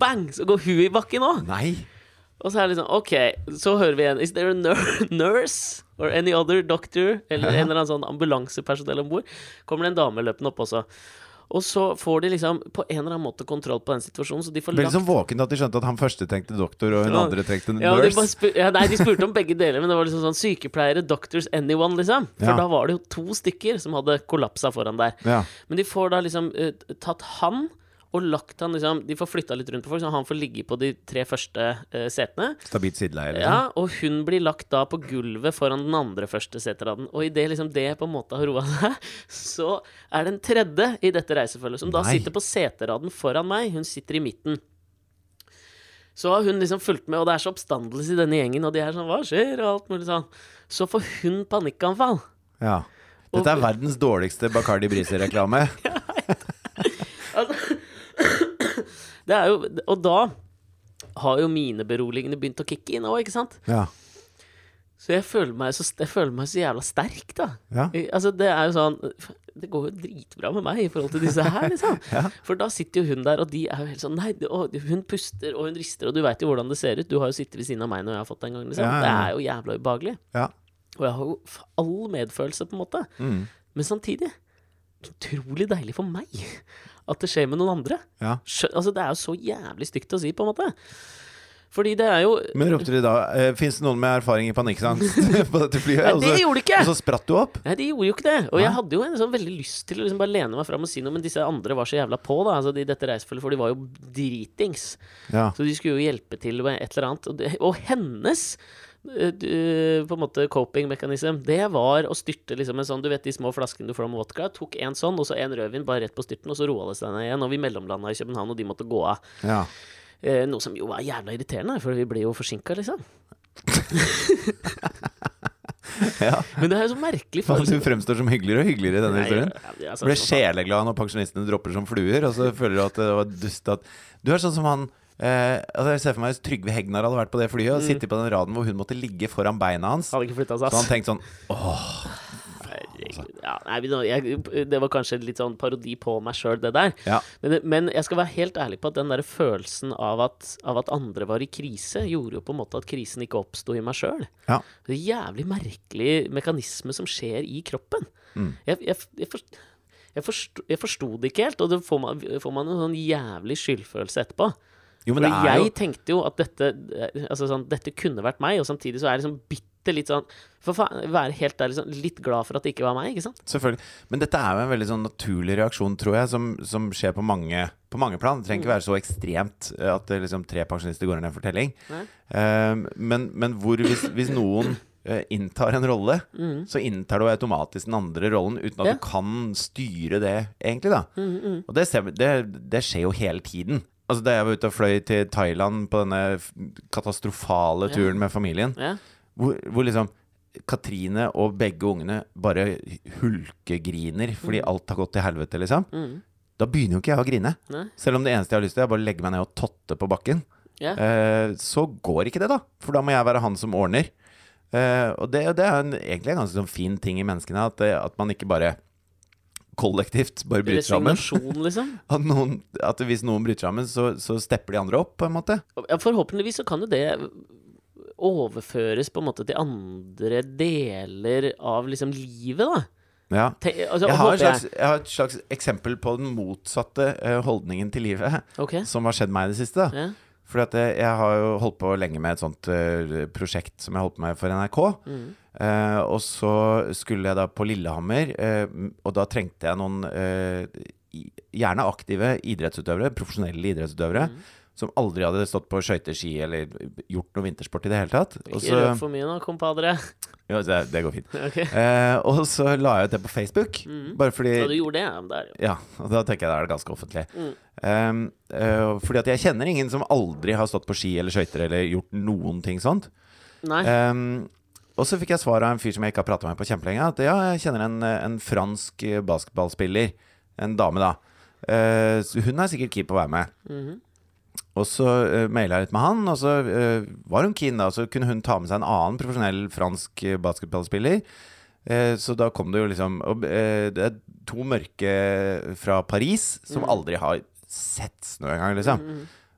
B: bang! Så går hun i bakken òg.
A: Nei.
B: Og så er det liksom OK, så hører vi igjen Is there a nur nurse or any other doctor? Eller en eller annen sånn ambulansepersonell om bord. Kommer det en dame løpende opp også. Og så får de liksom på en eller annen måte kontroll på den situasjonen, så de får
A: Ble
B: lagt
A: liksom våken til at de skjønte at han første tenkte doktor, og hun
B: Ja.
A: andre tenkte
B: ja, og de bare
A: nurse.
B: spur- ja, nei, de spurte om begge deler, men det var liksom sånn sykepleiere, doctors, anyone, liksom. For
A: Ja.
B: da var det jo to stykker som hadde kollapsa foran der.
A: Ja.
B: Men de får da liksom eh, tatt han og lagt han liksom De får flytta litt rundt på folk, så han får ligge på de tre første eh, setene.
A: Stabilt sideleie, liksom.
B: Ja, og hun blir lagt da på gulvet foran den andre første seteraden. Og idet liksom det på en måte har roa seg, så er det en tredje i dette reisefølget som da
A: Nei.
B: sitter på seteraden foran meg. Hun sitter i midten. Så har hun liksom fulgt med, og det er så oppstandelse i denne gjengen, og de er sånn 'hva skjer?' og alt mulig sånn. Så får hun panikkanfall.
A: Ja. Dette er verdens dårligste Bacardi Brise-reklame.
B: Altså, det er jo Og da har jo mine beroligende begynt å kicke inn òg, ikke sant?
A: Ja.
B: Så jeg føler meg så, jeg føler meg så jævla sterk, da.
A: Ja.
B: I- Altså, det er jo sånn Det går jo dritbra med meg i forhold til disse her, liksom.
A: Ja.
B: For da sitter jo hun der, og de er jo helt sånn Nei, det, å, hun puster, og hun rister, og du veit jo hvordan det ser ut. Du har jo sittet ved siden av meg når jeg har fått det en gang, liksom.
A: Ja, ja,
B: Det
A: ja.
B: er jo jævla ubehagelig.
A: ja.
B: Og jeg har jo f- all medfølelse, på en måte.
A: Mm.
B: Men samtidig utrolig deilig for meg at det skjer med noen andre.
A: ja.
B: Skjø altså, det er jo så jævlig stygt å si, på en måte. Fordi det er jo
A: Men ropte de da eh, Fins det noen med erfaring i panikkangst på dette flyet?
B: Nei,
A: Og
B: det
A: så-
B: gjorde det ikke!
A: Og så spratt du opp?
B: Nei, de gjorde jo ikke det. Og
A: Nei.
B: jeg hadde jo en sånn veldig lyst til å liksom bare lene meg fram og si noe, men disse andre var så jævla på, da. Altså, de, dette reisefølget, for de var jo dritings.
A: Ja.
B: Så de skulle jo hjelpe til med et eller annet. Og, det, og hennes eh, d- på en måte coping-mekanism, det var å styrte liksom en sånn Du vet de små flaskene du får med vodka? Tok en sånn, og så en rødvin bare rett på styrten, og så roa det seg ned igjen. Og vi mellomlanda i København, og de måtte gå av.
A: ja.
B: Eh, noe som jo var jævla irriterende, for vi ble jo forsinka, liksom.
A: ja.
B: Men det er jo så merkelig
A: Faen, du
B: følelse.
A: fremstår som hyggeligere og hyggeligere i denne
B: Nei,
A: historien.
B: ja, ja, altså,
A: Du blir sjeleglad når pensjonistene dropper som fluer, og så føler du at det var dust at Du er sånn som han eh, altså Jeg ser for meg hvis Trygve Hegnar hadde vært på det flyet
B: Mm.
A: og sittet på den raden hvor hun måtte ligge foran beina hans.
B: Hadde ikke flytta
A: Så
B: seg, ass.
A: han tenkte sånn
B: Herregud. Ja, nei, men jeg, det var kanskje litt sånn parodi på meg sjøl, det der.
A: Ja.
B: Men, men jeg skal være helt ærlig på at den der følelsen av at, av at andre var i krise, gjorde jo på en måte at krisen ikke oppsto i meg sjøl.
A: Ja.
B: Det er en jævlig merkelig mekanisme som skjer i kroppen. Jeg, jeg, jeg, forst, jeg, forsto, jeg forsto det ikke helt, og det får man, får man en sånn jævlig skyldfølelse etterpå.
A: Jo, men
B: For
A: det er
B: jeg
A: jo
B: tenkte jo at dette, altså sånn, dette kunne vært meg, og samtidig så er jeg liksom bitte litt sånn For faen, være helt ærlig sånn litt glad for at det ikke var meg, ikke sant?
A: Selvfølgelig. Men dette er jo en veldig sånn naturlig reaksjon, tror jeg, som, som skjer på mange, på mange plan. Det trenger
B: Mm.
A: ikke være så ekstremt eh, at det liksom tre pensjonister går inn i en fortelling.
B: Nei.
A: Eh, men, men hvor hvis, hvis noen eh, inntar en rolle, så inntar du automatisk den andre rollen uten at
B: Mm. Ja. Mm,
A: du kan styre det, egentlig. da Og det, ser, vi- det, det skjer jo hele tiden. Altså, da jeg var ute og fløy til Thailand på denne f- katastrofale turen med familien,
B: Ja.
A: hvor, hvor liksom Katrine og begge ungene bare hulkegriner fordi alt har gått til helvete, liksom. Da begynner jo ikke jeg å grine.
B: Nei.
A: Selv om det eneste jeg har lyst til, er bare å legge meg ned og totte på bakken.
B: Ja.
A: Eh, så går ikke det, da. For da må jeg være han som ordner. Eh, og det, det er en, egentlig en ganske sånn fin ting i menneskene, at, det, at man ikke bare kollektivt
B: Eh,
A: bare bryter sammen.
B: Resignasjon, liksom.
A: At, noen, at hvis noen bryter sammen, så, så stepper de andre opp, på en måte.
B: Ja, Forhåpentligvis så kan jo det overføres på en måte til andre deler av liksom livet, da.
A: Ja.
B: Te altså,
A: Jeg har,
B: håper
A: et slags, jeg har et slags eksempel på den motsatte eh, holdningen til livet
B: Ok.
A: som har skjedd meg i det siste. Da.
B: Ja.
A: Fordi at eh, jeg, jeg har jo holdt på lenge med et sånt eh, prosjekt som jeg holdt på med for NRK.
B: Mm.
A: Eh, og så skulle jeg da på Lillehammer, eh, og da trengte jeg noen eh, i- gjerne aktive idrettsutøvere, profesjonelle idrettsutøvere,
B: Mm.
A: som aldri hadde stått på skøyter, ski eller gjort noe vintersport i det hele tatt. Og
B: Ikke
A: så-
B: røp for mye nå, kompadre.
A: jo, det, det går fint.
B: Ok.
A: Eh, og så la jeg ut det på Facebook,
B: Mm.
A: bare fordi
B: Ja, du gjorde det, ja. men det er jo
A: ja, og da tenker jeg da er det ganske offentlig. Um, eh, fordi at jeg kjenner ingen som aldri har stått på ski eller skøyter eller gjort noen ting sånt.
B: Nei.
A: Um, og så fikk jeg svar av en fyr som jeg ikke har prata med på kjempelenge, at ja, jeg kjenner en, eh, en fransk eh, basketballspiller, en dame da. Eh, så hun er sikkert keen på å være med.
B: Mhm.
A: Og så uh, maila jeg litt med han, og så eh, var hun keen, da. Så kunne hun ta med seg en annen profesjonell fransk eh, basketballspiller. Eh, så da kom det jo liksom og, eh, Det er to mørke fra Paris som
B: Mm.
A: aldri har sett snø engang, liksom.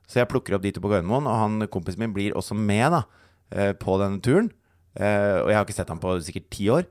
A: Så jeg plukker opp de to på Gardermoen, og han kompisen min blir også med da eh, på denne turen. Eh, og jeg har ikke sett ham på sikkert ti år.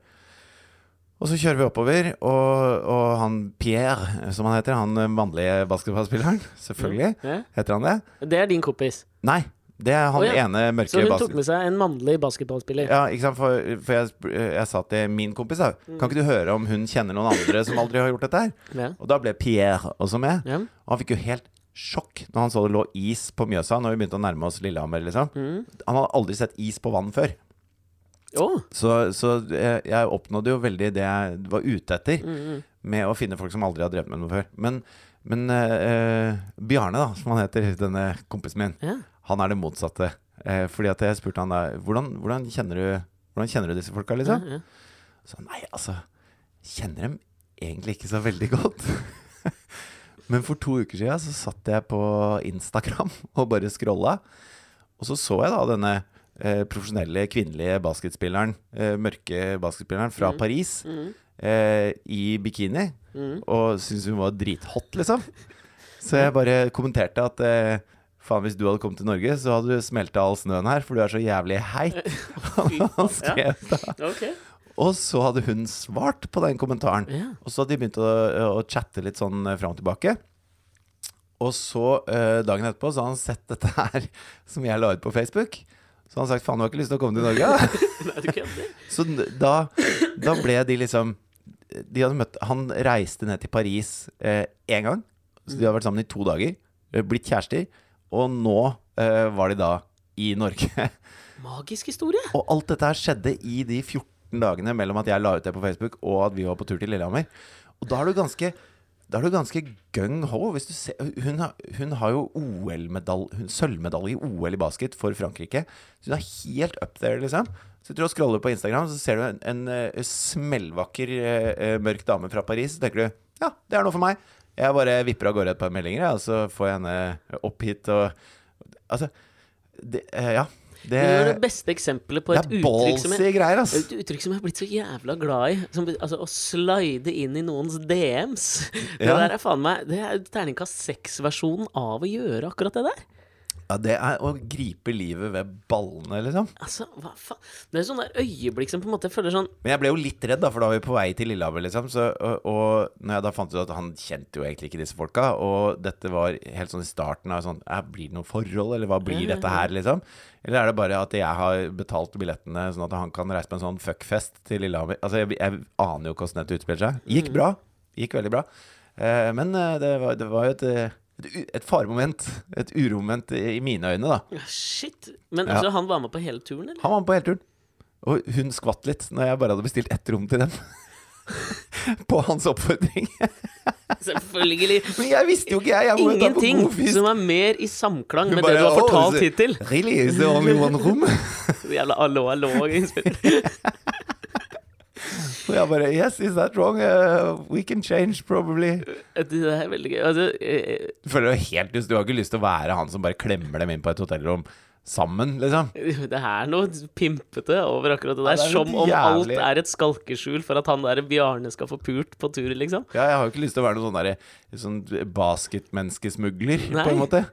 A: Og så kjører vi oppover, og, og han Pierre, som han heter, han eh, mannlige basketballspilleren, selvfølgelig,
B: Ja.
A: heter han det?
B: Det er din kompis.
A: Nei, det er han
B: Å, ja.
A: ene
B: Så
A: mørke
B: hun tok
A: basket...
B: med seg en mannlig basketballspiller.
A: Ja, ikke sant? For, for jeg, sp- eh, jeg sa til min kompis da,
B: Mm.
A: kan ikke du høre om hun kjenner noen andre som aldri har gjort dette her?
B: Ja.
A: Og da ble Pierre også med.
B: Ja.
A: Og han fikk jo helt sjokk når han så det lå is på Mjøsa, når vi begynte å nærme oss Lillehammer, liksom.
B: Mm.
A: Han hadde aldri sett is på vann før.
B: Å,
A: Så, så jeg, jeg oppnådde jo veldig det jeg var ute etter,
B: Mm,
A: med å finne folk som aldri har drevet med noe før. Men, men eh, eh, Bjarne, da, som han heter, denne kompisen min,
B: Ja.
A: han er det motsatte. Eh, fordi at jeg spurte han da hvordan, hvordan, kjenner, du, hvordan kjenner du disse folka, liksom?
B: ja.
A: Så han, nei, altså Kjenner dem egentlig ikke så veldig godt. Men for to uker siden så satt jeg på Instagram og bare scrolla. Og så så jeg da denne eh, profesjonelle kvinnelige basketspilleren, eh, mørke basketspilleren fra Paris,
B: Mm.
A: eh, i bikini. Og syntes hun var drithot, liksom. Så jeg bare kommenterte at eh, faen, hvis du hadde kommet til Norge, så hadde du smelta all snøen her, for du er så jævlig heit. Han skrev da.
B: Ok.
A: Og så hadde hun svart på den kommentaren.
B: Ja.
A: Og så hadde de begynt å, å chatte litt sånn eh, fram og tilbake. Og så, eh, dagen etterpå, så hadde han sett dette her som jeg la ut på Facebook. Så hadde han sagt 'faen, du har ikke lyst til å komme til Norge'?
B: Nei, du kødder.
A: så n- da, da ble de liksom de hadde møtt, Han reiste ned til Paris én gang. Så de hadde vært sammen i to dager. eh, Blitt kjærester. Og nå eh, var de da i Norge.
B: Magisk historie.
A: Og alt dette her skjedde i de 14 dagene mellom at jeg la ut det på Facebook, og at vi var på tur til Lillehammer. Og da er du ganske da er du ganske gung-ho. hvis du ser- Hun, har- hun har jo OL-medal- hun- sølvmedalje i OL i basket for Frankrike. Så hun er helt up there, liksom. Så du og scroller på Instagram, så ser du en, en eh, smellvakker, eh, eh, mørk dame fra Paris. Så tenker du ja, det er noe for meg. Jeg bare vipper av gårde et par meldinger, jeg, og så får jeg henne opp hit og Altså, det, eh, ja.
B: Det er det beste eksempelet på et
A: det er
B: uttrykk som jeg Eh,
A: ballsy greier, ass.
B: et uttrykk som jeg har blitt så jævla glad i. Som, altså, å slide inn i noens DMs. Det
A: Ja.
B: der er faen meg Det er terningkast seks-versjonen av å gjøre akkurat det der.
A: Ja, det er å gripe livet ved ballene, liksom.
B: Altså, hva faen Det er sånne der øyeblikk som på en måte jeg føler sånn
A: Men jeg ble jo litt redd, da, for da var vi på vei til Lillehammer, liksom. Så, og, og når jeg da fant ut at han kjente jo egentlig ikke disse folka, og dette var helt sånn i starten av sånn «Æ, Blir det noe forhold, eller hva blir dette her, liksom? Eller er det bare at jeg har betalt billettene, sånn at han kan reise på en sånn fuckfest til Lillehammer? Altså, jeg, jeg aner jo ikke hvordan dette utspiller seg.
B: Mm.
A: Gikk bra. Gikk veldig bra. Eh, men eh, det var det var jo et, eh, et, u- et faremoment. Et uromoment i, i mine øyne, da.
B: ja, «Ah, Shit. Men
A: Ja.
B: altså, han var med på hele turen, eller?
A: Han var med på hele turen. Og hun skvatt litt når jeg bare hadde bestilt ett rom til dem. på hans oppfordring.
B: Selvfølgelig.
A: Men jeg visste jo ikke, jeg. jeg må jo ta på
B: Ingenting
A: god fisk.
B: som er mer i samklang
A: Hun
B: med det du
A: bare,
B: har
A: «Oh,
B: fortalt
A: is it-
B: hittil.
A: Really, is there only one room?
B: Jævla allo, allo.
A: Og jeg bare Yes, is that wrong? Uh, we can change, probably.
B: Det er veldig gøy. Altså, eh,
A: Du føler jo helt lyst Du har ikke lyst til å være han som bare klemmer dem inn på et hotellrom. sammen, liksom.
B: eh, Det er noe pimpete over akkurat det der.
A: det er
B: som
A: litt
B: om alt
A: jævlig.
B: er et skalkeskjul for at han der Bjarne skal få pult på tur, liksom.
A: Ja, jeg har jo ikke lyst til å være noen sånn derre sånn basketmenneskesmugler, på en
B: Nei.
A: måte.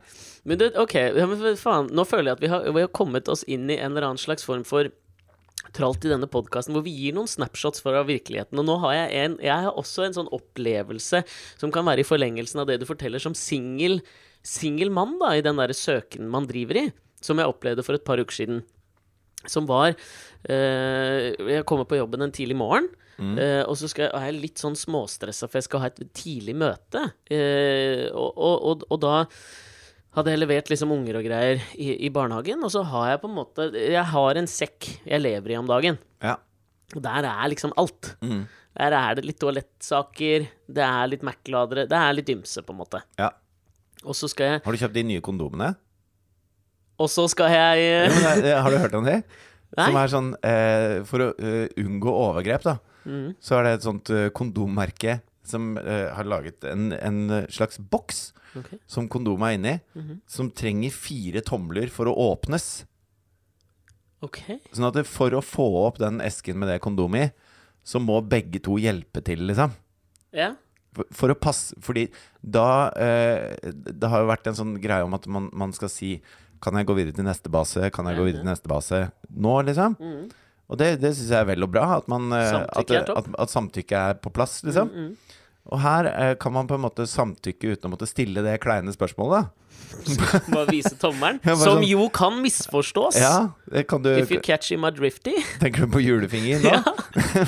B: Men det, ok, ja, men for faen, nå føler jeg at vi har, vi har kommet oss inn i en eller annen slags form for tralt i denne podkasten, hvor vi gir noen snapshots fra virkeligheten. Og nå har jeg, en, jeg har også en sånn opplevelse som kan være i forlengelsen av det du forteller som singel singel mann, da, i den derre søken man driver i, som jeg opplevde for et par uker siden. Som var eh, Jeg kommer på jobben en tidlig morgen. eh, og så skal jeg, og jeg er litt sånn småstressa, for jeg skal ha et tidlig møte. Eh, og, og, og, og da hadde jeg levert liksom unger og greier i, i barnehagen, og så har jeg på en måte Jeg har en sekk jeg lever i om dagen.
A: Ja.
B: Og der er liksom alt.
A: Mm.
B: Der er det litt toalettsaker, det er litt Mac-ladere, det er litt ymse, på en måte.
A: ja.
B: Og så skal jeg
A: Har du kjøpt de nye kondomene?
B: Og så skal jeg
A: Ja,
B: eh,
A: men, eh, har du hørt om det?
B: Nei.
A: Som er sånn eh, For å eh, unngå overgrep, da,
B: Mm.
A: så er det et sånt eh, kondommerke som eh, har laget en, en eh, slags boks
B: Ok. Mhm.
A: som kondomet er inni, som trenger fire tomler for å åpnes.
B: OK.
A: Sånn at det, for å få opp den esken med det kondomet i, så må begge to hjelpe til, liksom.
B: Ja.
A: For- For å passe Fordi da eh, Det har jo vært en sånn greie om at man, man skal si Kan jeg gå videre til neste base? Kan jeg gå videre til neste base nå, liksom? Og det, det syns jeg er vel og bra. At, man, eh,
B: Mm. Samtykke
A: at,
B: er topp. Mm,
A: at, at samtykke er på plass, liksom. Og her eh, kan man på en måte samtykke uten å måtte stille det kleine spørsmålet, da.
B: Bare vise tommelen.
A: Ja, bare
B: som
A: sånn-
B: jo kan misforstås.
A: Ja, det kan du
B: If you catch in my drifty.
A: Tenker du på julefinger nå?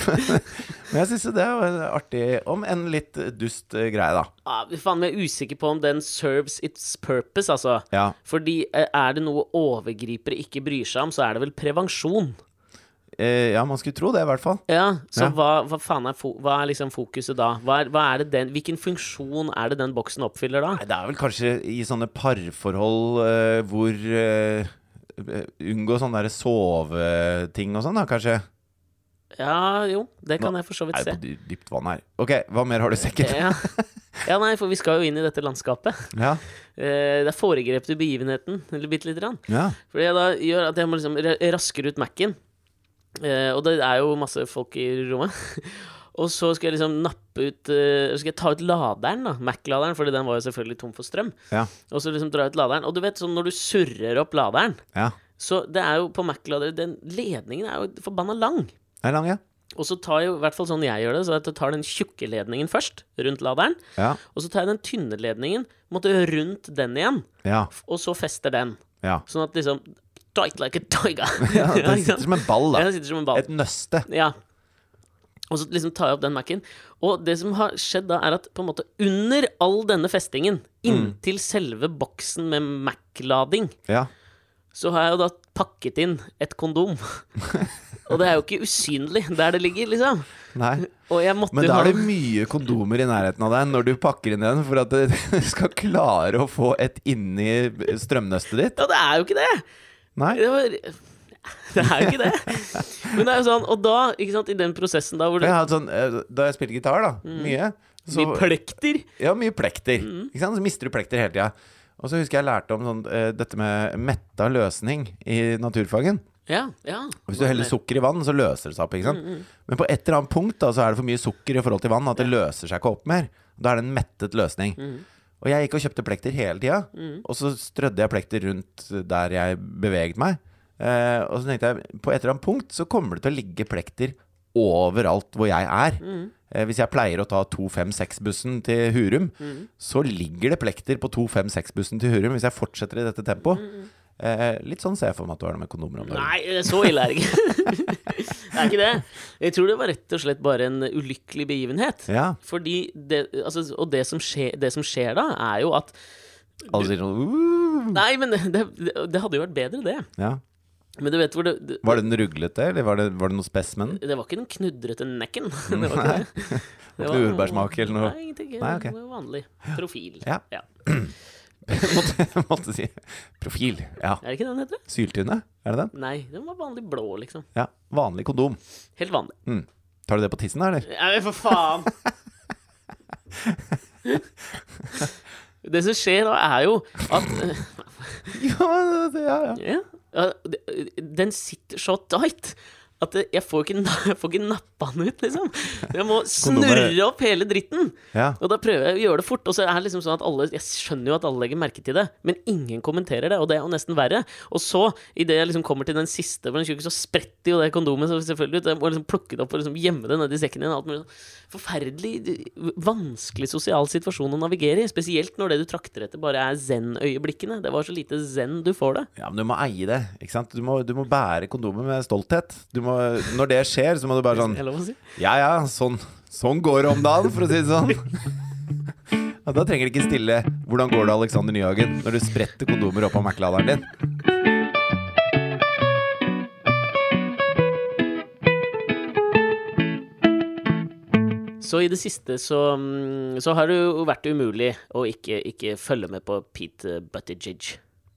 A: Men jeg syns jo det er jo en artig, om enn litt dust eh, greie, da.
B: Ah, faen, jeg er usikker på om den serves its purpose, altså.
A: Ja.
B: Fordi eh, er det noe overgripere ikke bryr seg om, så er det vel prevensjon.
A: Eh, ja, man skulle tro det, i hvert fall.
B: Ja, Så
A: Ja.
B: Hva, hva faen er, fo hva er liksom fokuset da? Hva er, hva er det den, hvilken funksjon er det den boksen oppfyller da?
A: Nei, det er vel kanskje i sånne parforhold eh, hvor eh, Unngå sånne der soveting og sånn, da, kanskje.
B: Ja, jo, det kan jeg for så vidt
A: Er
B: se.
A: på dy- dypt vann her. Ok, hva mer har du i sekken?
B: Ja. ja, nei, for vi skal jo inn i dette landskapet.
A: Ja.
B: Eh, det er foregrep til begivenheten, eller bitte lite grann.
A: ja.
B: For det da gjør at jeg må liksom ra- raskere ut Mac-en. Eh, og det er jo masse folk i rommet. og så skal jeg liksom nappe ut eh, Skal jeg ta ut laderen, da. Mac-laderen, fordi den var jo selvfølgelig tom for strøm.
A: Ja.
B: Og så liksom dra ut laderen. Og du vet sånn når du surrer opp laderen
A: ja.
B: Så det er jo på Mac-lader Den ledningen er jo forbanna lang.
A: Det er lang, ja.
B: Og så tar jeg jo, i hvert fall sånn jeg gjør det, så at jeg tar den tjukke ledningen først, rundt laderen.
A: Ja.
B: Og så tar jeg den tynne ledningen, måtte rundt den igjen,
A: Ja.
B: og så fester den.
A: ja.
B: Sånn at liksom Tight like a tiger.
A: ja den sitter som en ball, da.
B: Ja, den sitter som en ball.
A: Et nøste.
B: Ja. Og så liksom tar jeg opp den Mac-en. Og det som har skjedd da, er at på en måte under all denne festingen,
A: Mm.
B: inntil selve boksen med Mac-lading,
A: Ja.
B: så har jeg jo da pakket inn et kondom. og det er jo ikke usynlig der det ligger, liksom.
A: Nei.
B: Og jeg måtte
A: Men
B: jo
A: da
B: ha
A: er det mye kondomer i nærheten av deg når du pakker inn den, for at du skal klare å få et inni strømnøstet ditt.
B: Ja, det er jo ikke det!
A: Nei.
B: Det, var... det er jo ikke det. Men det er jo sånn, og da, ikke sant, i den prosessen da hvor det
A: Jeg hadde sånn, eh, da jeg spilte gitar, da,
B: Mm.
A: mye så,
B: blir plekter
A: Ja, mye plekter. Ikke sant? Så mister du plekter hele tida. Og så husker jeg lærte om sånn, eh, dette med metta løsning i naturfagen.
B: Ja, ja.
A: Og Hvis du heller sukker i vann, så løser det seg opp. ikke sant? Men på et eller annet punkt da, så er det for mye sukker i forhold til vann at det løser seg ikke opp mer. Da er det en mettet løsning. Og jeg gikk og kjøpte plekter hele tida, og så strødde jeg plekter rundt der jeg beveget meg. Eh, og så tenkte jeg på et eller annet punkt så kommer det til å ligge plekter overalt hvor jeg er. Eh, hvis jeg pleier å ta 256-bussen til Hurum, så ligger det plekter på 256-bussen til Hurum hvis jeg fortsetter i dette tempoet. Eh, litt sånn ser jeg for meg at du har det med kondomer om dagen.
B: Nei, så ille er det ikke. det er ikke det. Jeg tror det var rett og slett bare en ulykkelig begivenhet.
A: Ja.
B: Fordi det, altså, og det som, skjer, det som skjer da, er jo at
A: Alle sier sånn «Uh».
B: Nei, men det, det, det hadde jo vært bedre, det.
A: ja.
B: Men du vet hvor det Det,
A: Var den ruglete, eller var det, var det noe spess med den?
B: det var ikke den knudrete nekken. det var ikke det. Det
A: Ikke jordbærsmak eller noe?
B: Nei, ingenting.
A: Nei, ok.
B: Det var Vanlig profil.
A: Ja.
B: ja.
A: måtte, måtte si Profil. Ja.
B: Er det ikke den heter? det?
A: Syltynne, er det den?
B: Nei, den var vanlig blå, liksom.
A: Ja. Vanlig kondom.
B: Helt vanlig.
A: Mm. Tar du det på tissen, da, eller?
B: Nei, men for faen! Det som skjer da, er jo at eh,
A: ja, det, ja, ja.
B: ja, ja, det- Den sitter så tight at det- jeg får ikke, na- jeg får ikke nappa den ut, liksom. Jeg må snurre opp hele dritten.
A: ja.
B: Og da prøver jeg å gjøre det fort. Og så er det liksom sånn at alle Jeg skjønner jo at alle legger merke til det, men ingen kommenterer det, og det er jo nesten verre. Og så, idet jeg liksom kommer til den siste på den tjukke, så spretter jo det kondomet så selvfølgelig ut. Jeg må liksom plukke det opp og liksom gjemme det nedi sekken din. Alt mulig. sånn. Forferdelig d- vanskelig sosial situasjon å navigere i. Spesielt når det du trakter etter, bare er zen-øyeblikkene. Det var så lite zen du får det.
A: Ja, men du må eie det. ikke sant? Du må, du må bære kondomet med stolthet. Du må, når det skjer, så må du bare sånn
B: Er det lov å si?
A: Ja ja, sånn, sånn går det om dagen, for å si det sånn. Ja, da trenger de ikke stille 'Hvordan går det, Alexander Nyhagen?' når du spretter kondomer opp av Mac-laderen din.
B: Så i det siste så, mm, så har det jo vært umulig å ikke, ikke følge med på Pete Buttigieg.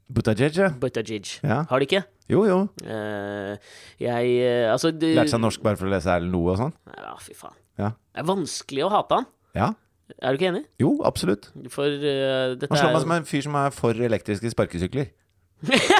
A: Buttigieg, ja.
B: Buttigieg.
A: Ja.
B: Har det ikke?
A: Jo jo.
B: Eh, jeg eh, Altså det,
A: Lærte seg norsk bare for å lese Erlend Loe og sånn.
B: Ja, fy faen.
A: Ja.
B: Det er vanskelig å hate han.
A: ja.
B: Er du ikke enig?
A: Jo, absolutt.
B: For eh, dette
A: Han slår
B: er
A: meg som en fyr som er for elektriske sparkesykler.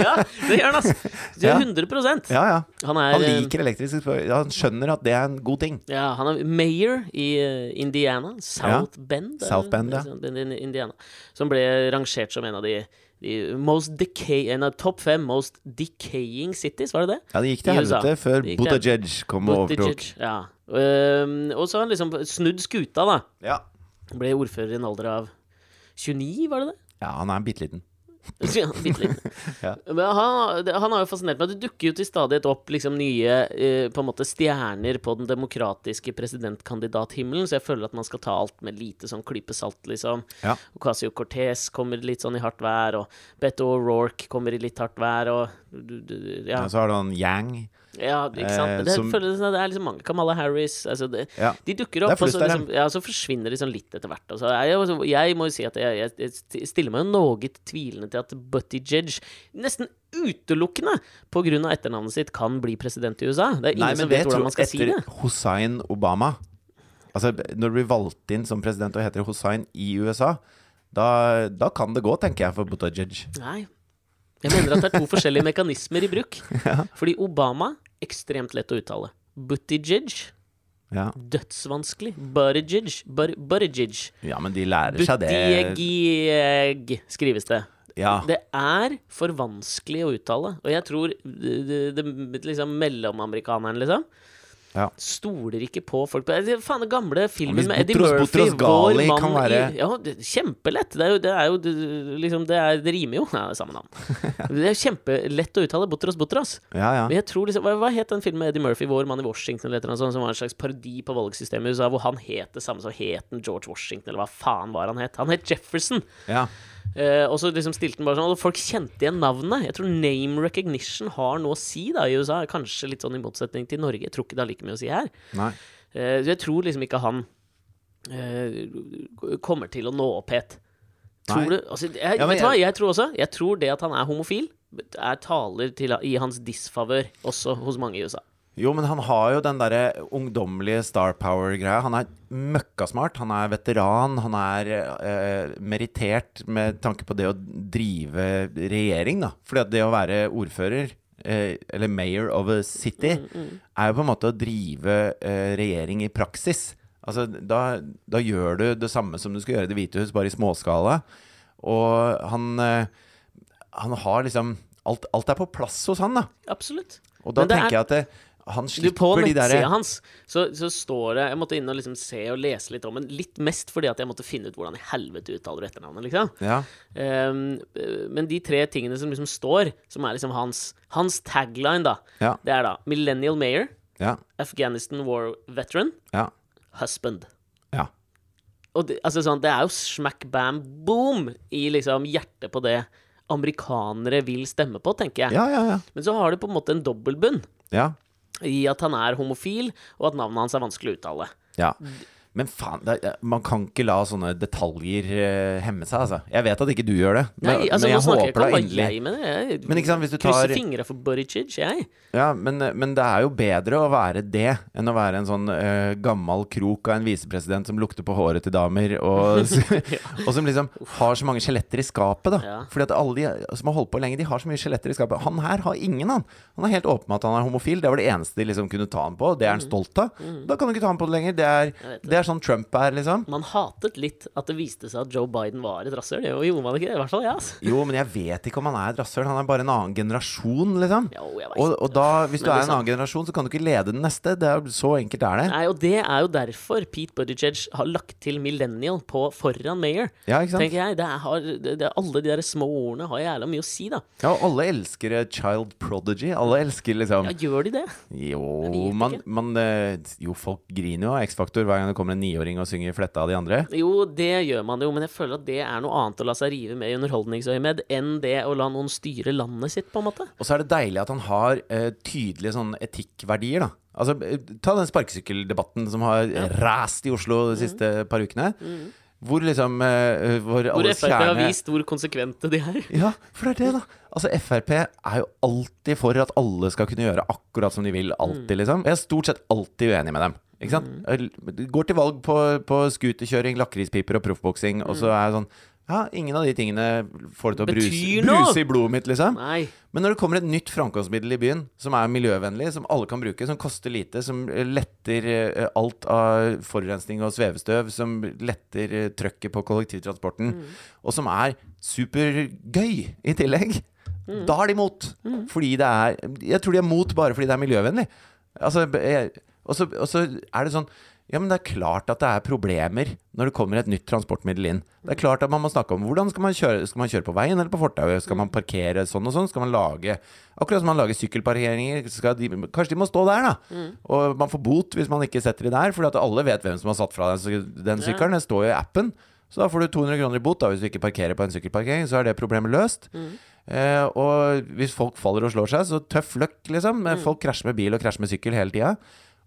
B: Ja, det gjør han, ass. Det
A: Ja.
B: er 100
A: Ja, ja.
B: Han er
A: Han
B: eh,
A: liker elektriske sparkesykler. Han skjønner at det er en god ting.
B: Ja, han er mayor i eh, Indiana. South Bend. er det-
A: South Bend, ja.
B: det er sånn, den- den- Indiana. Som ble rangert som en av de, de most decay, en av topp fem most decaying cities, var det det?
A: Ja, Det gikk til
B: I USA.
A: helvete før
B: Det gikk til-
A: Buttigieg kom og overtok.
B: Buttigieg, Ja. Ehm, og så har han liksom snudd skuta, da.
A: Ja.
B: Ble ordfører i en alder av 29, var det det?
A: ja, han er bitte liten.
B: Ja, bitte liten.
A: Ja.
B: Men han, det- han har jo fascinert meg. Det dukker jo til stadighet opp liksom, nye eh, på en måte stjerner på den demokratiske presidentkandidathimmelen, så jeg føler at man skal ta alt med lite sånn klype salt, liksom.
A: Ja.
B: Ocasio Cortez kommer litt sånn i hardt vær, og Beto O'Rourke kommer i litt hardt vær, og du- du-
A: Ja.
B: ja.
A: Så har du han Yang.
B: ja, ikke sant.
A: Eh,
B: det,
A: som-
B: føler, jeg- det er liksom mange Kamala Harris altså det,
A: Ja.
B: De dukker
A: Det er
B: opp, og
A: flust
B: så,
A: der, ja.
B: liksom, ja, så forsvinner de sånn litt etter hvert. og så er jeg, jo- jeg må jo si at jeg, jeg, jeg stiller meg jo noe tvilende til at Buttigieg nesten utelukkende på grunn av etternavnet sitt kan bli president i USA. Det er ingen
A: Nei, men
B: som
A: det
B: vet
A: tror
B: hvordan man skal si
A: etter
B: det.
A: Hussein Obama Altså, når du blir valgt inn som president og heter Hussein i USA, da, da kan det gå, tenker jeg, for Buttigieg.
B: Nei. Jeg mener at det er to forskjellige mekanismer i bruk. Fordi Obama ekstremt lett å uttale. Buttigieg
A: Ja.
B: dødsvanskelig. Buttigieg Bur- Buttigieg.
A: ja, men de lærer seg det.
B: Buttigieg skrives det.
A: Ja.
B: Det er for vanskelig å uttale. Og jeg tror det, det, det, liksom mellomamerikaneren, liksom,
A: Ja.
B: stoler ikke på folk på det er Faen, den gamle filmen
A: Hvis
B: med Eddie
A: Butros-
B: Murphy,
A: Butros Ghali
B: vår
A: kan
B: mann
A: være-
B: i Ja, det, kjempelett. Det er jo, det er jo det- liksom Det, er, det rimer jo. Ja, det er samme navn. Det er kjempelett å uttale Botros Botros.
A: Ja, ja.
B: Men jeg tror liksom, hva, hva het den filmen med Eddie Murphy, vår mann i Washington, eller et eller annet sånt, som var en slags parodi på valgsystemet i USA, hvor han het det samme som heten George Washington, eller hva faen var han het? Han het Jefferson.
A: ja.
B: Eh, og så liksom stilte han bare sånn, og folk kjente igjen navnet. Jeg tror name recognition har noe å si da i USA, kanskje litt sånn i motsetning til Norge. Jeg tror ikke det har like mye å si her.
A: Nei.
B: Eh, så jeg tror liksom ikke han eh, kommer til å nå opp het. Tror
A: Nei.
B: du altså, jeg,
A: Ja, men
B: Vet du hva, jeg tror også Jeg tror det at han er homofil, er taler til, i hans disfavør også hos mange i USA.
A: Jo, men han har jo den derre ungdommelige star power-greia. Han er møkkasmart, han er veteran, han er eh, merittert med tanke på det å drive regjering, da. Fordi at det å være ordfører, eh, eller mayor of a city, er jo på en måte å drive eh, regjering i praksis. Altså, da, da gjør du det samme som du skal gjøre i Det hvite hus, bare i småskala. Og han, eh, han har liksom alt, alt er på plass hos han, da.
B: Absolutt.
A: Og da
B: Men det
A: tenker
B: er-
A: jeg at det, han
B: Du, på
A: slipper de
B: nettsida
A: derre
B: hans så, så står det Jeg måtte inn og liksom se og lese litt om den, litt mest fordi at jeg måtte finne ut hvordan i helvete uttaler du etternavnet, liksom.
A: ja.
B: Ehm, eh, men de tre tingene som liksom står, som er liksom hans, hans tagline, da,
A: Ja.
B: det er da Millennial Mayor,
A: ja,
B: Afghanistan War Veteran,
A: ja,
B: Husband.
A: ja.
B: Og det, altså sånn, det er jo smack bam boom i liksom hjertet på det amerikanere vil stemme på, tenker jeg.
A: Ja, ja, ja.
B: Men så har det på en måte en dobbeltbunn
A: ja,
B: i at han er homofil, og at navnet hans er vanskelig å uttale.
A: ja. Men faen, det, er- man kan ikke la sånne detaljer eh, hemme seg, altså. Jeg vet at ikke du gjør det, men,
B: Nei, altså,
A: men
B: nå
A: jeg
B: snakker jeg
A: håper da
B: ikke om hva
A: endelig
B: jeg mener. Jeg
A: Men ikke sant, hvis du tar-
B: krysser fingra for Buttigieg, jeg.
A: Ja, men, men det er jo bedre å være det enn å være en sånn eh, gammel krok av en visepresident som lukter på håret til damer, og, og som liksom har så mange skjeletter i skapet, da.
B: Ja.
A: Fordi at alle de som har holdt på lenge, de har så mye skjeletter i skapet. Han her har ingen, han. Han er helt åpen med at han er homofil. Det var det eneste de liksom kunne ta ham på. Det er han stolt av. Da kan du ikke ta ham på det lenger. Det er,
B: Mhm. vet det.
A: det er sånn Trump er, liksom.
B: Man hatet litt at det viste seg at Joe Biden var et rasshøl. Jo, gjorde man ikke det? I hvert fall jeg, altså.
A: Jo, men jeg vet ikke om han er et rasshøl. Han er bare en annen generasjon, liksom.
B: Jo, jeg vet
A: Og,
B: ikke.
A: og da, hvis
B: Men
A: du er
B: det er
A: en annen generasjon, så kan du ikke lede den neste. Det er, så enkelt er det.
B: Nei, og det er jo derfor Pete Buttigieg har lagt til millennial på foran mayor.
A: Ja, ikke sant?
B: Tenker jeg, det er, har, det, det, Alle de der små ordene har jævla mye å si, da.
A: Ja, og alle elsker eh, Child Prodigy. Alle elsker liksom
B: Ja, gjør de det?
A: Jo,
B: vet
A: man,
B: ikke.
A: man eh, Jo, folk griner jo av X-Faktor hver gang det kommer en niåring og synger fletta av de andre.
B: Jo, det gjør man jo, men jeg føler at det er noe annet å la seg rive med i underholdningsøyemed enn det å la noen styre landet sitt, på en måte.
A: Og så er det deilig at han har eh, tydelige sånn etikkverdier, da. Altså, eh, ta den sparkesykkeldebatten som har rast i Oslo de siste par ukene. Hvor liksom eh, Hvor,
B: Mm. Hvor
A: alles
B: Frp har
A: kjerne-
B: vist hvor konsekvente de er.
A: Ja, for det er det, da. Altså, Frp er jo alltid for at alle skal kunne gjøre akkurat som de vil. Alltid,
B: Mm.
A: liksom. Jeg er stort sett alltid uenig med dem. Ikke sant? Jeg Går til valg på, på scooterkjøring, lakrispiper og proffboksing, og så er jeg sånn Ja, ingen av de tingene får det til å bruse,
B: Mm. Betyr noe!
A: bruse i blodet mitt, liksom.
B: Nei.
A: Men når det kommer et nytt framkomstmiddel i byen som er miljøvennlig, som alle kan bruke, som koster lite, som eh, letter eh, alt av forurensning og svevestøv, som letter eh, trøkket på kollektivtransporten, og som er supergøy i tillegg, da er de imot. Fordi det er Jeg tror de er mot bare fordi det er miljøvennlig. Altså, b- jeg- og så og så er det sånn ja, men det er klart at det er problemer når det kommer et nytt transportmiddel inn. Det er klart at man må snakke om hvordan skal man kjøre, skal man kjøre på veien eller på fortauet, skal man parkere sånn og sånn, skal man lage Akkurat som man lager sykkelparkeringer, skal de, kanskje de må stå der, da. Og man får bot hvis man ikke setter de der, for alle vet hvem som har satt fra den, sy- den sykkelen. Det står jo i appen. Så da får du 200 kroner i bot da, hvis du ikke parkerer på en sykkelparkering, så er det problemet løst. Eh, og hvis folk faller og slår seg, så tøff løkk, liksom. Men Folk krasjer med bil og krasjer med sykkel hele tida.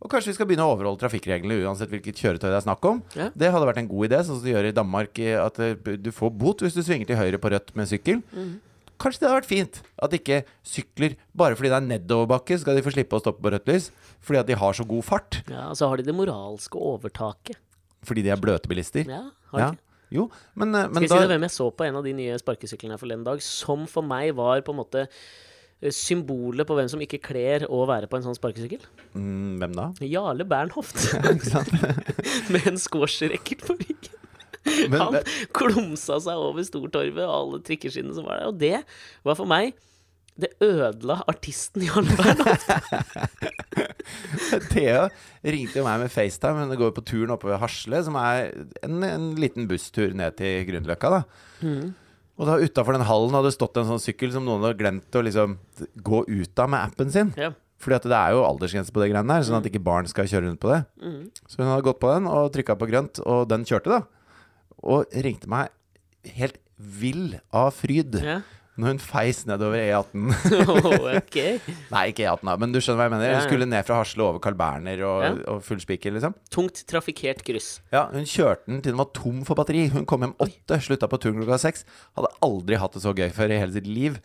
A: Og kanskje vi skal begynne å overholde trafikkreglene uansett hvilket kjøretøy det er snakk om.
B: Ja.
A: Det hadde vært en god idé, sånn som de gjør i Danmark, eh, at eh, du får bot hvis du svinger til høyre på rødt med sykkel.
B: Mhm.
A: Kanskje det hadde vært fint at ikke sykler bare fordi det er nedoverbakke, skal de få slippe å stoppe på rødt lys. Fordi at de har så god fart.
B: Ja, Så har de det moralske overtaket.
A: Fordi de er bløte bilister.
B: Ja, har de
A: Ja.
B: ikke?
A: Jo, men, eh, men
B: Skal jeg si deg
A: da
B: hvem jeg så på en av de nye sparkesyklene her forleden dag, som for meg var på en måte eh, symbolet på hvem som ikke kler å være på en sånn sparkesykkel?
A: mm, Hvem da?
B: Jarle Bernhoft,
A: Ikke sant?
B: med en squash-racket på ryggen.
A: Men-
B: Han klumsa seg over Stortorvet og alle trikkeskinnene som var der, og det var for meg det ødela artisten Jarle Bernhoft.
A: Thea ringte jo meg med FaceTime. Hun går jo på turen oppe ved Hasle, som er en, en liten busstur ned til Grünerløkka. da. Og da utafor den hallen hadde det stått en sånn sykkel som noen hadde glemt å liksom gå ut av med appen sin.
B: Ja.
A: Fordi at det er jo aldersgrense på det greiene der, sånn at ikke barn skal kjøre rundt på det. Så hun hadde gått på den og trykka på grønt, og den kjørte, da. Og ringte meg helt vill av fryd
B: Ja.
A: når hun feis nedover E18.
B: Åh, ok.
A: Nei, ikke E18, da, men du skjønner hva jeg mener.
B: Ja,
A: Hun
B: ja.
A: skulle ned fra Hasle over Carl Berner og,
B: Ja.
A: og full spiker, liksom.
B: Tungt trafikkert kryss.
A: Ja, hun kjørte den til den var tom for batteri. Hun kom hjem åtte, slutta på turen klokka seks. Hadde aldri hatt det så gøy før i hele sitt liv.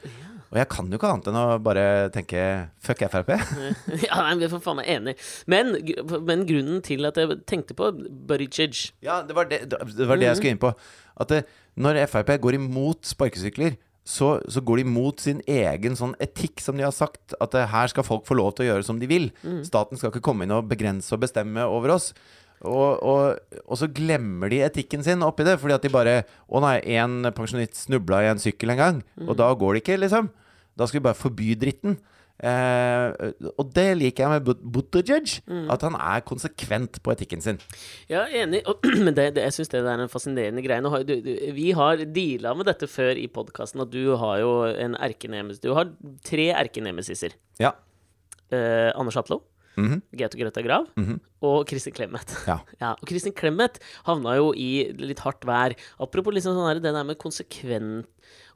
A: Og jeg kan jo ikke annet enn å bare tenke fuck Frp.
B: Ja, nei, men jeg er for faen meg enig. Men, gr- men grunnen til at jeg tenkte på Buttigieg
A: Ja, det var det, det, var det jeg skulle inn på. At det, når Frp går imot sparkesykler, så, så går de imot sin egen sånn etikk som de har sagt. At eh, her skal folk få lov til å gjøre som de vil. Staten skal ikke komme inn og begrense og bestemme over oss. Og, og, og så glemmer de etikken sin oppi det, fordi at de bare Å nei, en pensjonist snubla i en sykkel en gang, og da går det ikke, liksom. Da skal vi bare forby dritten. Eh, og det liker jeg med But- Buttigieg. At han er konsekvent på etikken sin.
B: Ja, enig. Og, men det, det, jeg syns det der er en fascinerende greie. Nå har, du, du, vi har deala med dette før i podkasten, og du har jo en erkenemes... Du har tre erkenemesiser.
A: Ja.
B: Eh, Anders Hatlo,
A: Mhm.
B: Gaute Grøtta Grav og Kristin Clemet.
A: Ja.
B: og Kristin Clemet havna jo i litt hardt vær. Apropos liksom sånn her, det der med konsekvent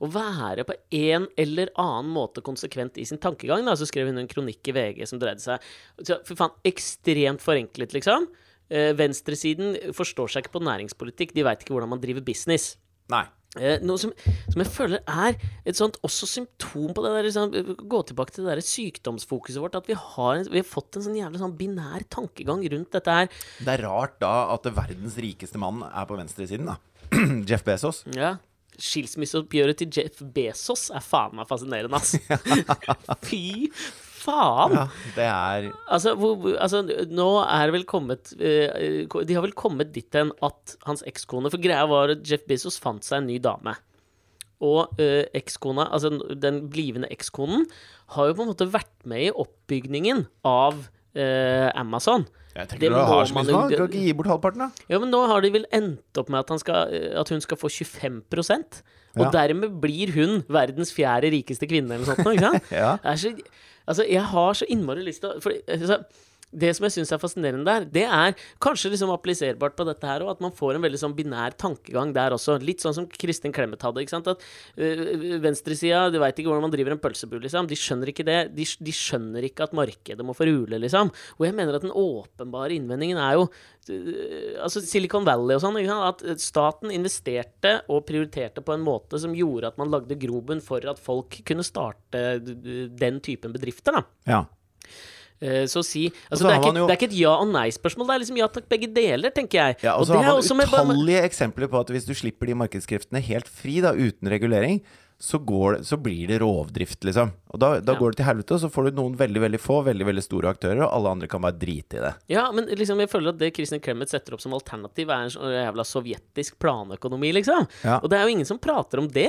B: Å være på en eller annen måte konsekvent i sin tankegang. Da. Så skrev hun en kronikk i VG som dreide seg så, For faen, ekstremt forenklet, liksom. eh, venstresiden forstår seg ikke på næringspolitikk. De veit ikke hvordan man driver business.
A: Nei.
B: Eh, noe som, som jeg føler er et sånt også symptom på det der liksom, Gå tilbake til det der sykdomsfokuset vårt. At vi har, en, vi har fått en sånn jævlig sånn binær tankegang rundt dette her.
A: Det er rart da at verdens rikeste mann er på venstresiden, da. Jeff Bezos.
B: Ja. Skilsmisseoppgjøret til Jeff Bezos er faen meg fascinerende, ass. Fy faen!
A: Ja, det er
B: Altså, hvor, hvor- altså, nå er det vel kommet eh, eh, De har vel kommet dit hen at hans ekskone For greia var at Jeff Bezos fant seg en ny dame. Og eh, ekskona, altså den- den blivende ekskonen, har jo på en måte vært med i oppbygningen av eh, Amazon.
A: Jeg
B: Det
A: tenker du har
B: må
A: så
B: man
A: mye
B: jo-
A: sånn, kan ikke gi bort halvparten, da?
B: Ja, men nå har de vel endt opp med at, han skal, eh, at hun skal få 25 og
A: Ja.
B: dermed blir hun verdens fjerde rikeste kvinne eller noe sånt. nå, Ikke sant?
A: Ja.
B: Det er så, altså, jeg har så innmari lyst til å fordi, altså, Det som jeg syns er fascinerende der, det er kanskje liksom appliserbart på dette her òg, at man får en veldig sånn binær tankegang der også. Litt sånn som Kristin Clemet hadde. ikke sant? At øh, Venstresida de veit ikke hvordan man driver en pølsebu, liksom. De skjønner ikke det. De, skj- de skjønner ikke at markedet må få rule, liksom. Og jeg mener at den åpenbare innvendingen er jo øh, altså Silicon Valley og sånn. ikke sant? At staten investerte og prioriterte på en måte som gjorde at man lagde grobunn for at folk kunne starte øh, den typen bedrifter. da.
A: Ja.
B: Eh, Så å si altså,
A: så
B: det, er
A: har
B: ikke,
A: man jo-
B: det er ikke et ja- og nei-spørsmål. Det er liksom ja takk, begge deler, tenker jeg.
A: Ja, og så
B: det
A: har
B: er
A: man
B: også med- bare-
A: utallige eksempler på at hvis du slipper de markedskreftene helt fri, da, uten regulering, så, går det, så blir det rovdrift, liksom. Og da, da
B: Ja.
A: går det til helvete, og så får du noen veldig, veldig få, veldig, veldig store aktører, og alle andre kan bare drite i det.
B: Ja, men liksom, jeg føler at det Kristin Clemet setter opp som alternativ, er en sånn jævla sovjetisk planøkonomi, liksom.
A: Ja.
B: Og det er jo ingen som prater om det.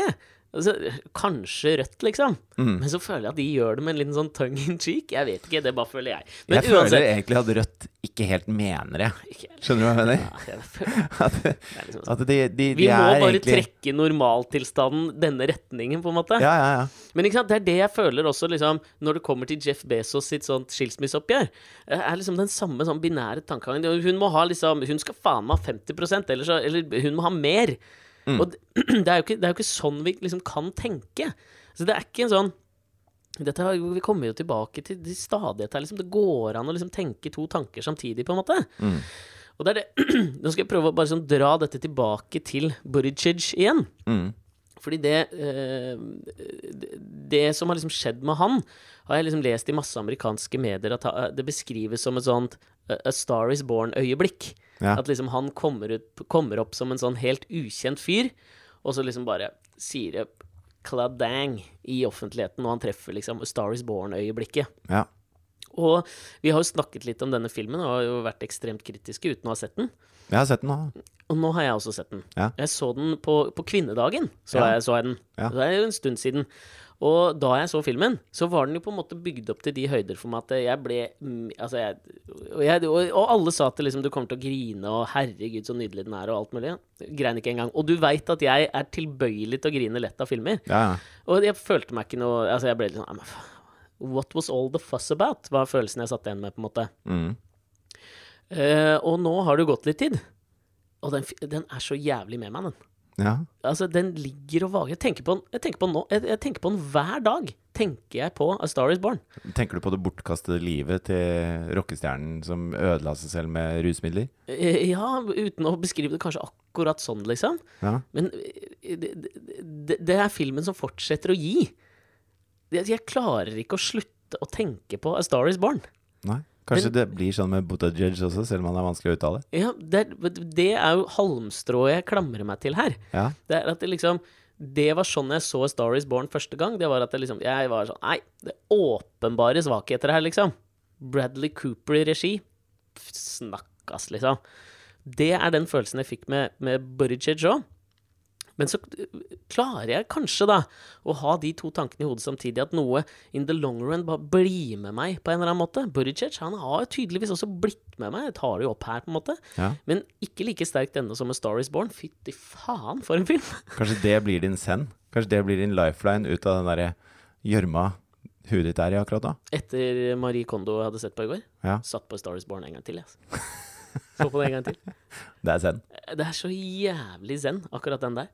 B: Altså, kanskje Rødt, liksom.
A: Mm.
B: Men så føler jeg at de gjør det med en liten sånn tongue in cheek. Jeg vet ikke, det bare føler jeg. Men
A: jeg føler egentlig at Rødt ikke helt mener det.
B: Ikke helt.
A: Skjønner du hva jeg mener?
B: Ja, jeg føler,
A: At,
B: det er liksom sånn.
A: at de, de, de
B: Vi må
A: er
B: bare
A: egentlig
B: trekke normaltilstanden denne retningen, på en måte.
A: Ja, ja, ja.
B: Men ikke sant, det er det jeg føler også, liksom, når det kommer til Jeff Bezos sitt sånt skilsmisseoppgjør. eh, er liksom den samme sånn binære tankegangen. Det- Hun må ha liksom Hun skal faen meg ha 50 eller, så, eller hun må ha mer. Og det, det, er jo ikke, det er jo ikke sånn vi liksom kan tenke. Så det er ikke en sånn dette, har- vi kommer jo tilbake til de stadighet her. Liksom, det går an å liksom tenke to tanker samtidig, på en måte. Og det er det. Nå skal jeg prøve å bare sånn dra dette tilbake til Buttigieg igjen.
A: Mm.
B: Fordi det, eh, det- det som har liksom skjedd med han, har jeg liksom lest i masse amerikanske medier at ha- det beskrives som et sånt eh, A Star Is Born-øyeblikk.
A: Ja.
B: At liksom han kommer, ut, kommer opp som en sånn helt ukjent fyr, og så liksom bare sier det kladang i offentligheten, og han treffer liksom A Star Is Born-øyeblikket.
A: ja.
B: Og vi har jo snakket litt om denne filmen, og har jo vært ekstremt kritiske uten å ha sett den.
A: Jeg har sett den nå.
B: Og nå har jeg også sett den.
A: Ja.
B: Jeg så den på, på kvinnedagen. Så,
A: Ja.
B: jeg, så jeg den.
A: Ja.
B: Det er jo en stund siden. Og da jeg så filmen, så var den jo på en måte bygd opp til de høyder for meg at jeg ble mm, altså jeg, og, jeg, og, og alle sa at det liksom, du kommer til å grine, og herregud, så nydelig den er, og alt mulig. Grein ikke engang. Og du veit at jeg er tilbøyelig til å grine lett av filmer.
A: Ja, ja.
B: Og jeg følte meg ikke noe Altså, jeg ble litt sånn "Nei, men faen, What was all the fuss about? var følelsen jeg satt igjen med, på en måte.
A: Mm.
B: Eh, og nå har det jo gått litt tid. Og den, fi- den er så jævlig med meg, den.
A: ja.
B: Altså, den ligger og vager. Jeg tenker på den, jeg tenker på den, nå, jeg, jeg tenker på den hver dag. Tenker jeg på A Star Is Born.
A: Tenker du på det bortkastede livet til rockestjernen som ødela seg selv med rusmidler?
B: Eh, ja, uten å beskrive det kanskje akkurat sånn, liksom.
A: Ja.
B: Men eh, det, det, det er filmen som fortsetter å gi. Jeg, jeg klarer ikke å slutte å tenke på A Star Is Born.
A: Nei. Kanskje
B: Men-
A: det blir sånn med Buttigieg også, selv om han er vanskelig å uttale?
B: Ja, det, er- det er jo halmstrået jeg klamrer meg til her.
A: Ja.
B: Det er at det liksom Det var sånn jeg så A Star Is Born første gang. Det var at jeg liksom Jeg var sånn Nei, det er åpenbare svakheter her, liksom. Bradley Cooper i regi. Pff, Snakkas, liksom. Det er den følelsen jeg fikk med, med Buttigieg òg. Men så øh, klarer jeg kanskje, da, å ha de to tankene i hodet samtidig. At noe in the long run bare blir med meg på en eller annen måte. Buttigieg han har jo tydeligvis også blitt med meg. Jeg tar det jo opp her, på en måte.
A: Ja.
B: Men ikke like sterkt ennå som A Star Is Born. Fytti faen, for en film!
A: Kanskje det blir din send? Kanskje det blir din lifeline ut av den derre gjørma huet ditt er i akkurat nå?
B: Etter Marie Kondo hadde sett på i går.
A: Ja.
B: Satt på A Star Is Born en gang til. jeg, Altså. Så på det en gang til. Eh,
A: Det er send.
B: Det er så jævlig zen, akkurat den der.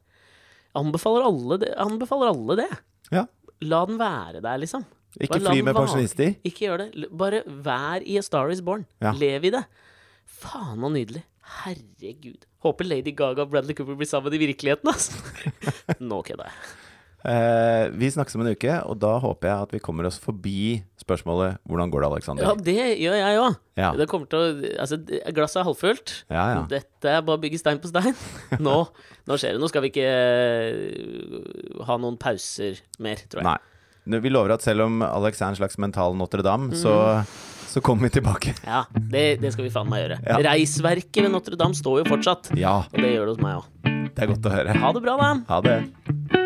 B: Anbefaler alle det. Anbefaler alle det.
A: Ja.
B: La den være der, liksom.
A: Ikke
B: Bare la
A: fly
B: den
A: med
B: vare.
A: pensjonister.
B: Ikke gjør det. L- Bare vær i A Star Is Born.
A: Ja.
B: Lev i det. Faen og nydelig. Herregud. Håper Lady Gaga og Bradley Cooper blir sammen i virkeligheten, altså. Nå kødda jeg.
A: Eh, vi snakkes om en uke, og da håper jeg at vi kommer oss forbi spørsmålet 'Hvordan går det,
B: Ja,
A: Alexander?'
B: det gjør jeg òg.
A: Ja.
B: Det kommer til å Altså, glasset er halvfullt.
A: Ja, Ah, ja.
B: Dette er bare å bygge stein på stein. Nå, nå skjer det. Nå skal vi ikke eh, ha noen pauser mer, tror jeg.
A: Nei. Nå, Vi lover at selv om Alex er en slags mental Notre-Dame, så, så kommer vi tilbake.
B: Ja, det, det skal vi faen meg gjøre.
A: Ja.
B: Reisverket ved Notre-Dame står jo fortsatt.
A: Ja,
B: Og det gjør det hos meg òg.
A: det er godt å høre.
B: Ha det bra, da.
A: Ha det.